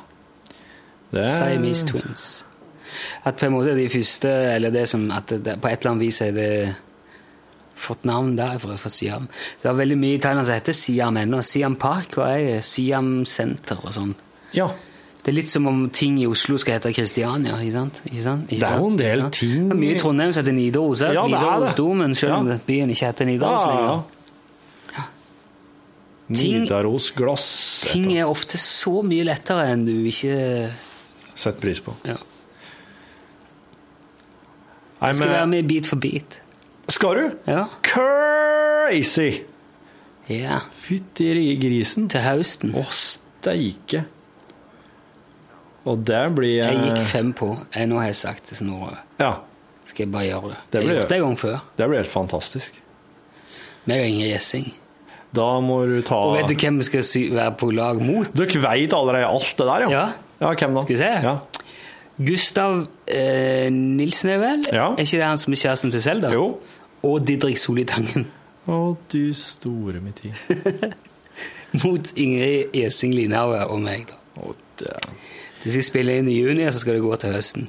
S5: Det, Ah.
S4: Siamese twins. At på en måte de første Eller det som at det, det- på et eller annet vis er det fått navn derfra, fra Siam. Det var veldig mye i Thailand som heter Siam ennå. Siam Park var jeg, Siam Senter og sånn.
S5: ja.
S4: Det er litt som om ting i Oslo skal hete Kristiania, ikke sant? Ikke sant? Ikke
S5: Det er jo en
S4: sant?
S5: del
S4: Ikke sant?
S5: ting-
S4: Det er mye i Trondheim som heter Nidaros, ja,
S5: Ja, Ah. det er det.
S4: Nidarosdomen, selv om
S5: Ja.
S4: byen ikke heter
S5: Ja,
S4: Nidaros
S5: ja,
S4: lenger.
S5: ja.
S4: Ting-
S5: Nidarosglass.
S4: Ting er ofte så mye lettere enn du ikke
S5: Sett pris på.
S4: ja.
S5: Nei,
S4: skal være
S5: men,
S4: med bit for bit.
S5: skal du?
S4: Ja.
S5: Crazy!
S4: ja.
S5: Fytti ri- grisen.
S4: Til høsten.
S5: Å, steike. Og der blir eh,
S4: Jeg gikk fem på. Jeg, nå har jeg sagt det, så nå
S5: Ja,
S4: skal jeg bare gjøre det.
S5: Det
S4: jeg har
S5: blir det.
S4: gjort det en gang før.
S5: det blir helt fantastisk.
S4: Meg og Ingrid Gjessing.
S5: Da må du ta
S4: Og vet du hvem vi skal sy være på lag mot?
S5: Dere veit allerede alt det der, ja?
S4: Ja.
S5: hvem da?
S4: Skal vi se?
S5: Ja.
S4: Gustav eh, Nilsen er vel?
S5: Ja.
S4: Er ikke det han som er kjæresten til Selda?
S5: Jo.
S4: Og Didrik Solitangen.
S5: Å, du store min tid.
S4: Mot Ingrid Gjessing Linhaug og meg, da.
S5: Å, dæ-
S4: De skal spille inn i juni, og så skal det gå til høsten.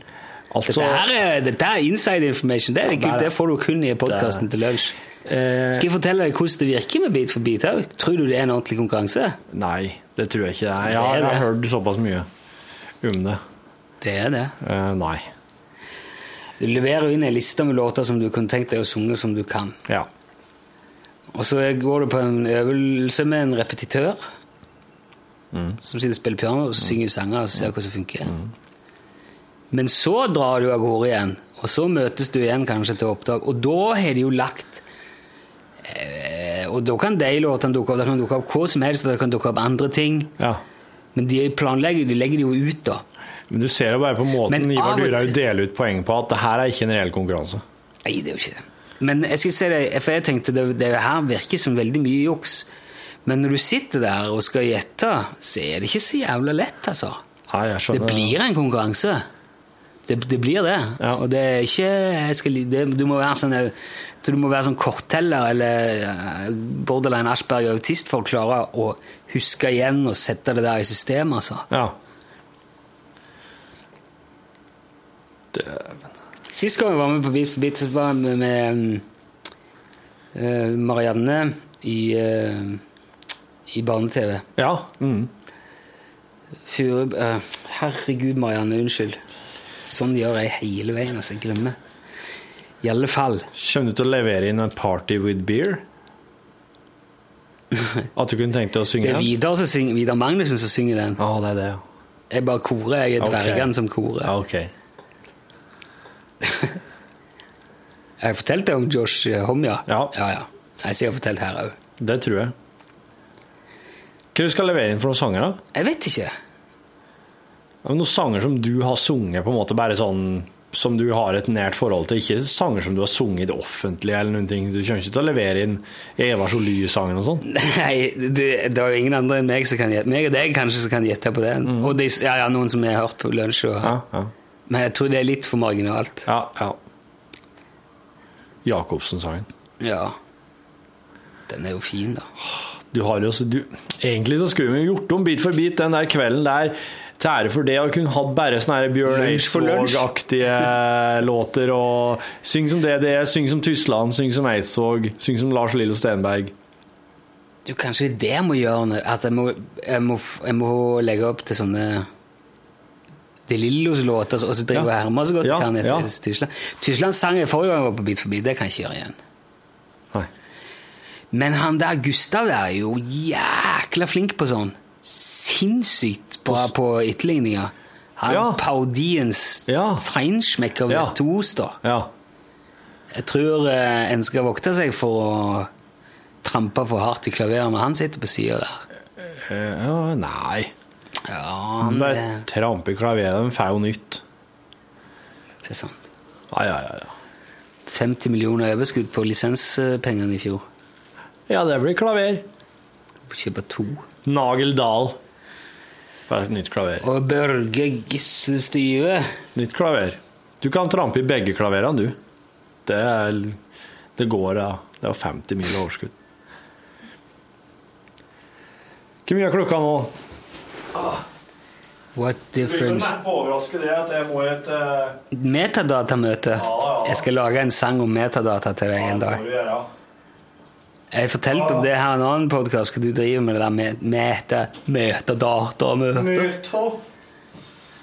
S5: Altså,
S4: Dette, her er, dette er inside information. Det, er ikke,
S5: det er-
S4: det får du kun i podkasten til lunsj.
S5: eh,
S4: Skal jeg fortelle deg hvordan det virker med Bit for bit òg? Tror du det er en ordentlig konkurranse?
S5: Nei, det tror jeg ikke det er. Jeg
S4: Det
S5: har,
S4: er
S5: jeg har
S4: det.
S5: hørt såpass mye om det.
S4: Det er det.
S5: Eh, nei.
S4: Du leverer inn en liste med låter som du kunne tenkt deg å synge som du kan.
S5: Ja.
S4: Og så går du på en øvelse med en repetitør som sitter og spiller piano og synger sanger og ser hva som funker. Men så drar du av gårde igjen, og så møtes du igjen kanskje til opptak. Og da har de jo lagt eh, Og da kan de låtene dukke opp, det kan dukke opp hva som helst, og det kan dukke opp andre ting.
S5: ja.
S4: Men de planlegger, de legger det jo ut, da.
S5: Men du ser jo bare på måten
S4: Men
S5: Ivar
S4: av og
S5: Dyrhaug
S4: til-
S5: deler ut poeng på at det her er ikke en reell konkurranse.
S4: Nei, det er jo ikke det. Men jeg skal si deg, for jeg tenkte det, det her virker som veldig mye juks. Men når du sitter der og skal gjette, så er det ikke så jævla lett, altså.
S5: Nei, jeg
S4: Det
S5: skjønner.
S4: blir en konkurranse. Det, det blir det.
S5: Ja.
S4: Og det er ikke jeg skal, li- det, Du må være sånn jeg tror du må være sånn kortteller eller eh, borderline Ashberg og autist for å klare å huske igjen og sette det der i systemet, altså.
S5: Ja.
S4: Sist gang vi var med på Beat for beat, så var vi med um, eh, Marianne i, eh, i barne-TV.
S5: ja. Mm.
S4: Fure... eh, herregud, Marianne, unnskyld. Sånn gjør jeg hele veien, altså. Jeg glemmer. I alle fall.
S5: Kommer du til å levere inn en party with beer? At du kunne tenkt deg å synge
S4: Det er
S5: den?
S4: Vidar, som synger, Vidar Magnussen som synger den.
S5: Ja, det er det. ja.
S4: Jeg bare korer. Jeg er
S5: Ok.
S4: dvergene som
S5: Ja,
S4: korer.
S5: ok.
S4: Jeg har fortalt deg om Josh eh, Homya.
S5: Ja.
S4: ja, ja. Nei, så Jeg har fortalt her òg.
S5: Det tror jeg. Hva du skal levere inn for noen sanger, da?
S4: Jeg vet ikke.
S5: Ja, men Noen sanger som du har sunget på en måte bare sånn som du har et nært forhold til, ikke sanger som du har sunget i det offentlige eller noen ting. Du kommer ikke til å levere inn Eva Jolie-sangen og sånn.
S4: Nei, det, det er jo ingen andre enn meg som kan gjette. Meg og deg kanskje som kan gjette på den. Og de, ja, ja, noen som jeg har hørt på lunsj. Og,
S5: Mm. Ja, ja.
S4: Men jeg tror det er litt for marginalt.
S5: ja, ja. Jacobsen-sangen.
S4: Ja. Den er jo fin, da.
S5: Du har jo så du, Egentlig så skulle vi jo gjort om bit for bit den der kvelden der til ære for det å kunne hatt bare sånne her Bjørn
S4: Lunsj for lunsj.
S5: Eidsvåg-aktige låter og Syng som det det er, syng som Tysland, syng som Eidsvåg, syng som Lars Lillo Stenberg.
S4: Du, kanskje det er det jeg må gjøre nå. At jeg må, jeg, må, f- jeg må legge opp til sånne De Lillos låter, og så driver
S5: Ja.
S4: jeg hermer så godt
S5: Ja,
S4: jeg kan etter
S5: ja.
S4: Tyskland. Tyskland sang jeg forrige gang jeg var på Beat for beat. Det kan jeg ikke gjøre igjen.
S5: Nei.
S4: Men han der Gustav der er jo jækla flink på sånn. Sinnssykt bra på etterligninger. Han
S5: Ja.
S4: parodiens
S5: Ja.
S4: feinschmecker
S5: Ja.
S4: virtuos, da.
S5: Ja.
S4: Jeg tror eh, en skal vokte seg for å trampe for hardt i klaveret når han sitter på sida der.
S5: Eh, ja, nei.
S4: Ja, han, eh, det,
S5: Bare trampe i klaveret, de får jo nytt.
S4: det er sant.
S5: Ja, ja, ja, ja.
S4: 50 millioner overskudd på lisenspengene i fjor.
S5: Ja, det blir klaver.
S4: Kjøpe to.
S5: Nagel Dahl. Bare et nytt klaver.
S4: Og Børge Gisle Styve.
S5: Nytt klaver. Du kan trampe i begge klaverene, du. Det, er, det går ja. Det er 50 mil overskudd. Hvor mye er klokka nå?
S4: What difference
S5: overraske det at jeg må et eh,
S4: Metadatamøte. Jeg skal lage en sang om metadata til deg en dag. Jeg fortalte om det her i en annen podkast, hva du driver med det der med meta, metadatamøte.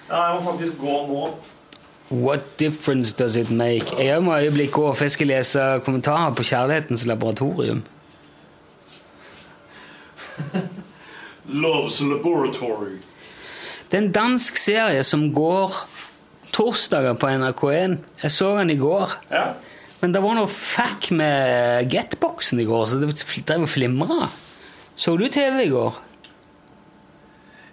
S5: Jeg må faktisk gå nå.
S4: What difference does it make? Jeg må et øyeblikk gå, for jeg skal lese kommentarer på Kjærlighetens laboratorium.
S9: Love's Laboratory.
S4: Det er en dansk serie som går torsdager på NRK1. Jeg så den i går. Men det var noe fuck med Getboxen i går, så det drev og flimra. Så du TV i går?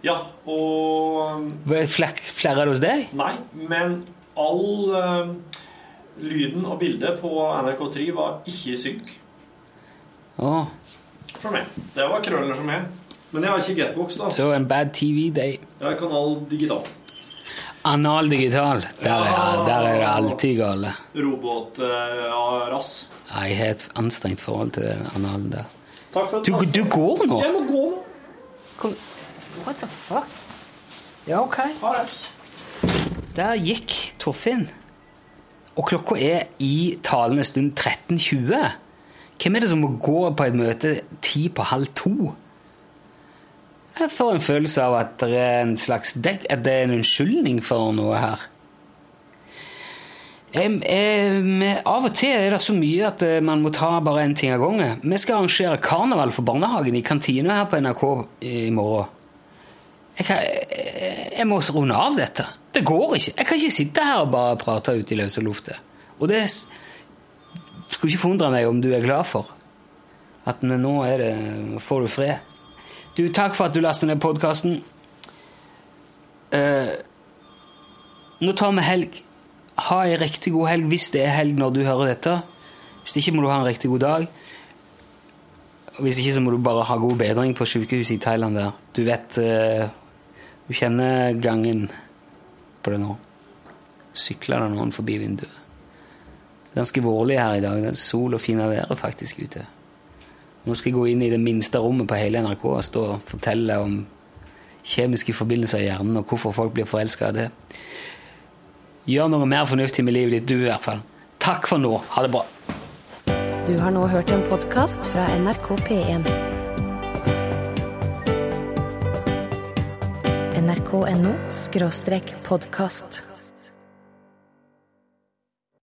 S9: Ja, og
S4: Flerra det hos deg?
S9: Nei, men all eh, lyden og bildet på NRK3 var ikke i synk.
S4: Åh,
S9: For meg. Det var krøller som jeg. Men jeg har ikke getbox, da.
S4: det var en bad TV-day.
S9: Jeg har kanal digital.
S4: Anal digital. Der er, der er det alltid gale.
S9: Robot eh, ja, rass.
S4: Jeg har et anstrengt forhold til den analen der.
S9: Takk for at
S4: Du, du går nå?
S9: Jeg må gå nå.
S4: What the fuck? Ja, ok. Der gikk Torfinn. Og klokka er i talende stund 13.20. Hvem er det som må gå på et møte ti på halv to? Jeg får en følelse av at det er en slags dekk, at det er en unnskyldning for noe her. Em, em, av og til er det så mye at eh, man må ta bare én ting av gangen. Vi skal arrangere karneval for barnehagen i kantina her på NRK i morgen. Jeg, kan, jeg, jeg må runde av dette. Det går ikke. Jeg kan ikke sitte her og bare prate ut i løse lufta. Og det s- skulle ikke forundre meg om du er glad for at men nå er det, får du fred. Du, takk for at du lastet ned Eh, podkasten. nå tar vi helg. Ha ei riktig god helg hvis det er helg når du hører dette. Hvis ikke må du ha en riktig god dag. Og Hvis ikke så må du bare ha god bedring på sykehuset i Thailand der. Du vet eh, Du kjenner gangen på det nå. Sykler det noen forbi vinduet. Det er ganske vårlig her i dag. Det er sol og fint vær faktisk ute. Nå skal jeg gå inn i det minste rommet på hele NRK og stå og fortelle om kjemiske forbindelser i hjernen og hvorfor folk blir forelska av det. Gjør noe mer fornuftig med livet ditt, du i hvert fall. Takk for nå. Ha det bra.
S1: Du har nå hørt en podkast fra NRK P1. NRK.no skråstrek podkast.